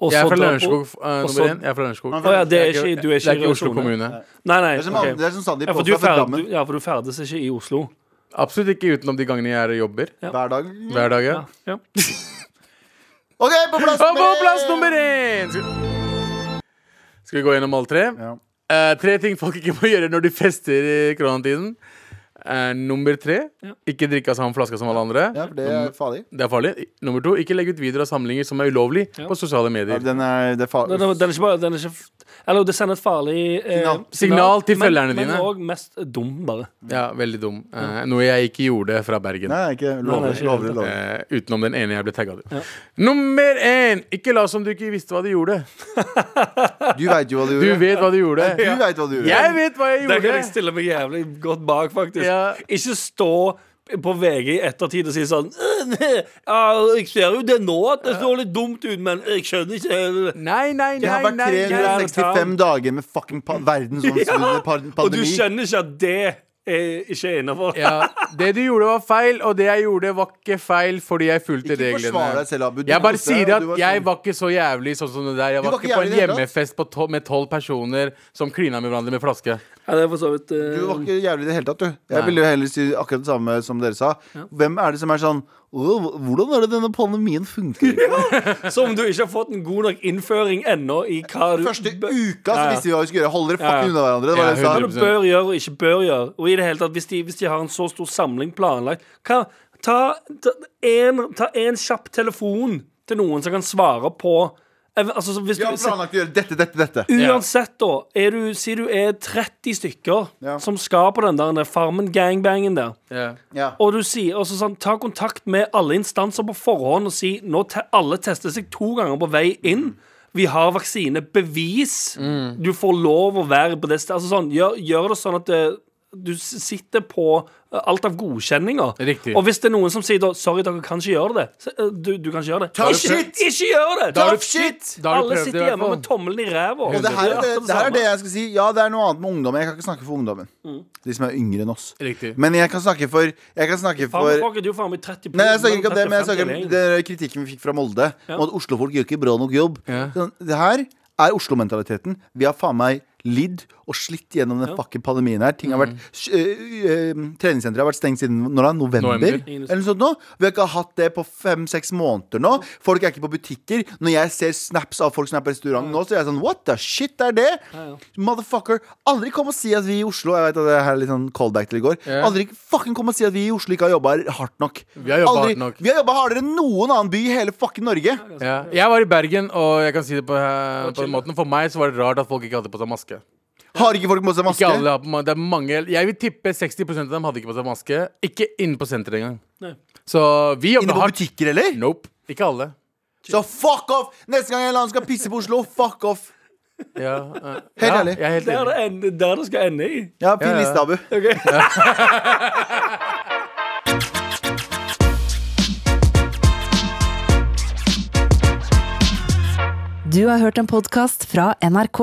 D: Og
B: Jeg er
D: så
B: fra
D: dra på-
B: Lørenskog. eh, nummer
D: og så-
B: én. Jeg er fra Lørenskog.
D: Å ja, det er ikke, du er
B: Det
D: ikke,
B: er ikke Oslo kommune.
D: Nei, nei.
C: Det er som,
D: ok.
C: okay. det er som Sandeep
D: Ja, for
C: påstår
D: du,
C: fra
D: ferd,
C: Drammen
D: du, ja, for du ferdes ikke i Oslo.
B: Absolutt ikke utenom de gangene jeg er og jobber.
C: hver dag.
B: Hver dag, ja.
D: Ja, ja.
C: OK, på plass
B: Og på
C: nummer
B: plass
C: én!
B: nummer én! Skal skal vi gå gjennom alle tre?
C: Ja.
B: Eh, tre ting folk ikke må gjøre når de fester i koronatiden. Eh, nummer tre
D: Ja.
B: ikke drikke av samme flaske som alle andre.
C: Ja, for det er farlig.
B: Det er farlig. Nummer to ikke legge ut videoer av samlinger som er ulovlig
D: Ja.
B: på sosiale
C: Ja,
B: medier.
C: den er, det er farlig.
D: Den, er- den er ikke bare den er ikke, f- Eller det sender et farlig eh,
C: Signal.
B: Signal til følgerne
D: men,
B: dine.
D: Men òg mest dum, bare.
B: Ja, Veldig dum. Eh, noe jeg ikke gjorde fra Bergen.
C: Nei, det er ikke
D: Nei,
C: lovlig.
D: det er ikke
C: lovlig,
D: helt-
C: lovlig.
B: Eh, utenom den ene jeg ble tagga til. Nummer én ikke la som du ikke visste hva du gjorde.
C: Du veit jo hva
B: Du
C: du gjorde.
B: vet hva du gjorde.
C: Du vet hva du gjorde.
B: Jeg vet hva jeg
D: Den kan
B: gjorde.
D: jeg stille meg jævlig godt bak, faktisk.
B: Ja.
D: Ikke stå på VG i ettertid og si sånn ja, Jeg ser jo det nå at det står litt dumt ut, men jeg skjønner ikke
B: Nei, nei,
C: Det har
B: nei,
C: vært
B: nei, nei.
C: 365 dager med fucking pa verdensomspillende
D: Ja,
C: pan-
D: Og du
C: pandemi.
D: skjønner ikke at det er ikke er innafor.
B: Ja, det du gjorde var feil, og det jeg gjorde var ikke feil fordi jeg fulgte
C: Ikke forsvar
B: reglene.
C: deg selv, Abu. Du
B: Jeg bare
C: gjorde det,
B: sier
C: og
B: at
C: du var
B: jeg
C: sånn-
B: var ikke så jævlig sånn som det der. Jeg
C: Du
B: var
C: var
B: ikke
C: ikke
B: på en
C: jævlig i det hele
B: hjemmefest på tol- med tolv personer som klina med hverandre med flaske.
D: Ja, det er for så vidt eh,
C: Du var ikke jævlig i det hele tatt, du. Jeg
B: Nei.
C: ville jo heller si akkurat det samme som dere sa. Hvem er det som er sånn «Åh, Hvordan er det denne pandemien funker?
D: Som om du ikke har fått en god nok innføring ennå i hva du
C: Første
D: bø-
C: uka så
D: Ja, ja.
C: visste vi hva vi skulle gjøre. Hold dere
D: Ja, ja.
C: fucking unna hverandre.
B: Ja,
C: Det var det
D: Hva
C: jeg
D: du
B: 100%.
C: sa.
D: bør gjøre og ikke bør gjøre. Og i det hele tatt, hvis de, hvis de har en så stor samling planlagt hva, Ta ta en, ta en kjapp telefon til noen som kan svare på Eh, altså, så hvis
C: Vi har
D: du,
C: planlagt å gjøre dette, dette, dette.
D: Uansett, da. Er du, si du er 30 stykker
C: Ja.
D: som skal på den der Farmen-gangbangen der.
B: Ja.
C: Ja.
D: Og du sier også sånn, ta kontakt med alle instanser på forhånd og si nå te alle tester seg to ganger på vei inn. Vi har vaksine. Bevis.
B: Mm.
D: Du får lov å være på det stedet. Altså sånn, gjør, gjør det sånn at eh, du s- sitter på eh, alt av godkjenninger.
B: Riktig.
D: Og hvis det er noen som sier da, sorry, dere kan ikke gjøre det, så, eh, du, du kan ikke gjøre det.
C: Tough
D: ikke,
C: shit!
D: ikke gjør det!
C: Tough
D: Tough
C: shit!
D: shit!
B: Da har du
D: Alle
B: prøvd det i
D: sitter
B: hvert
D: hjemme
B: fall.
D: med tommelen i ræva.
C: Og det her, er det, det
D: akkurat
C: her er
D: samme.
C: det jeg skal si. Ja, det er noe annet med ungdom. Jeg kan ikke snakke for ungdommen.
D: Mm.
C: De som er yngre enn oss.
B: Riktig.
C: Men jeg kan snakke for Jeg kan snakke
D: Faen,
C: for
D: folk er jo faen meg 30
C: Nei, jeg snakker ikke om det, men jeg
D: 30-50
C: snakker om
D: lenger.
C: den kritikken vi fikk fra Molde. Om at Oslo-folk gjør ikke bra nok jobb.
B: Ja.
C: Sånn, Det her er Oslo-mentaliteten. Vi har faen meg lidd og slitt gjennom den fucking pandemien her. Ting har
B: Mm.
C: vært øh, øh, Treningssenteret har vært stengt siden når da? november?
B: November.
C: Eller noe sånt nå. Vi har ikke hatt det på fem-seks måneder nå. Folk er ikke på butikker. Når jeg ser snaps av folk som er på restaurant nå, så er jeg sånn What the shit er det? Motherfucker. Aldri kom og si at vi i Oslo Jeg vet at det her er litt sånn callback til i går.
B: Ja.
C: Aldri fucking kom og si at vi i Oslo ikke har jobba hardt nok.
B: Vi har jobba
C: Aldri-
B: hardt nok.
C: Vi har jobba hardere enn noen annen by i hele fucking Norge.
B: Ja. Jeg var i Bergen, og jeg kan si det på, eh, på den måten. For meg så var det rart at folk ikke hadde på seg maske.
C: Har ikke folk på seg maske?
B: Ikke alle har på ma- det er mange Jeg vil tippe 60 av dem hadde ikke på seg maske. Ikke inne på senteret engang.
D: Nei.
B: Så vi
C: Inne
B: jobber
C: på
B: hardt.
C: butikker, eller?
B: Nope. Ikke alle.
C: Så fuck off! Neste gang en eller annen skal pisse på Oslo, fuck off!
B: Ja, eh,
C: Helt
B: ja,
C: ærlig.
B: Jeg er helt
D: Det er
B: enig.
D: det, ende, der det skal ende i.
C: Ja, fin
B: Ja, ja.
C: liste, Abu.
E: Du har hørt en podkast fra NRK.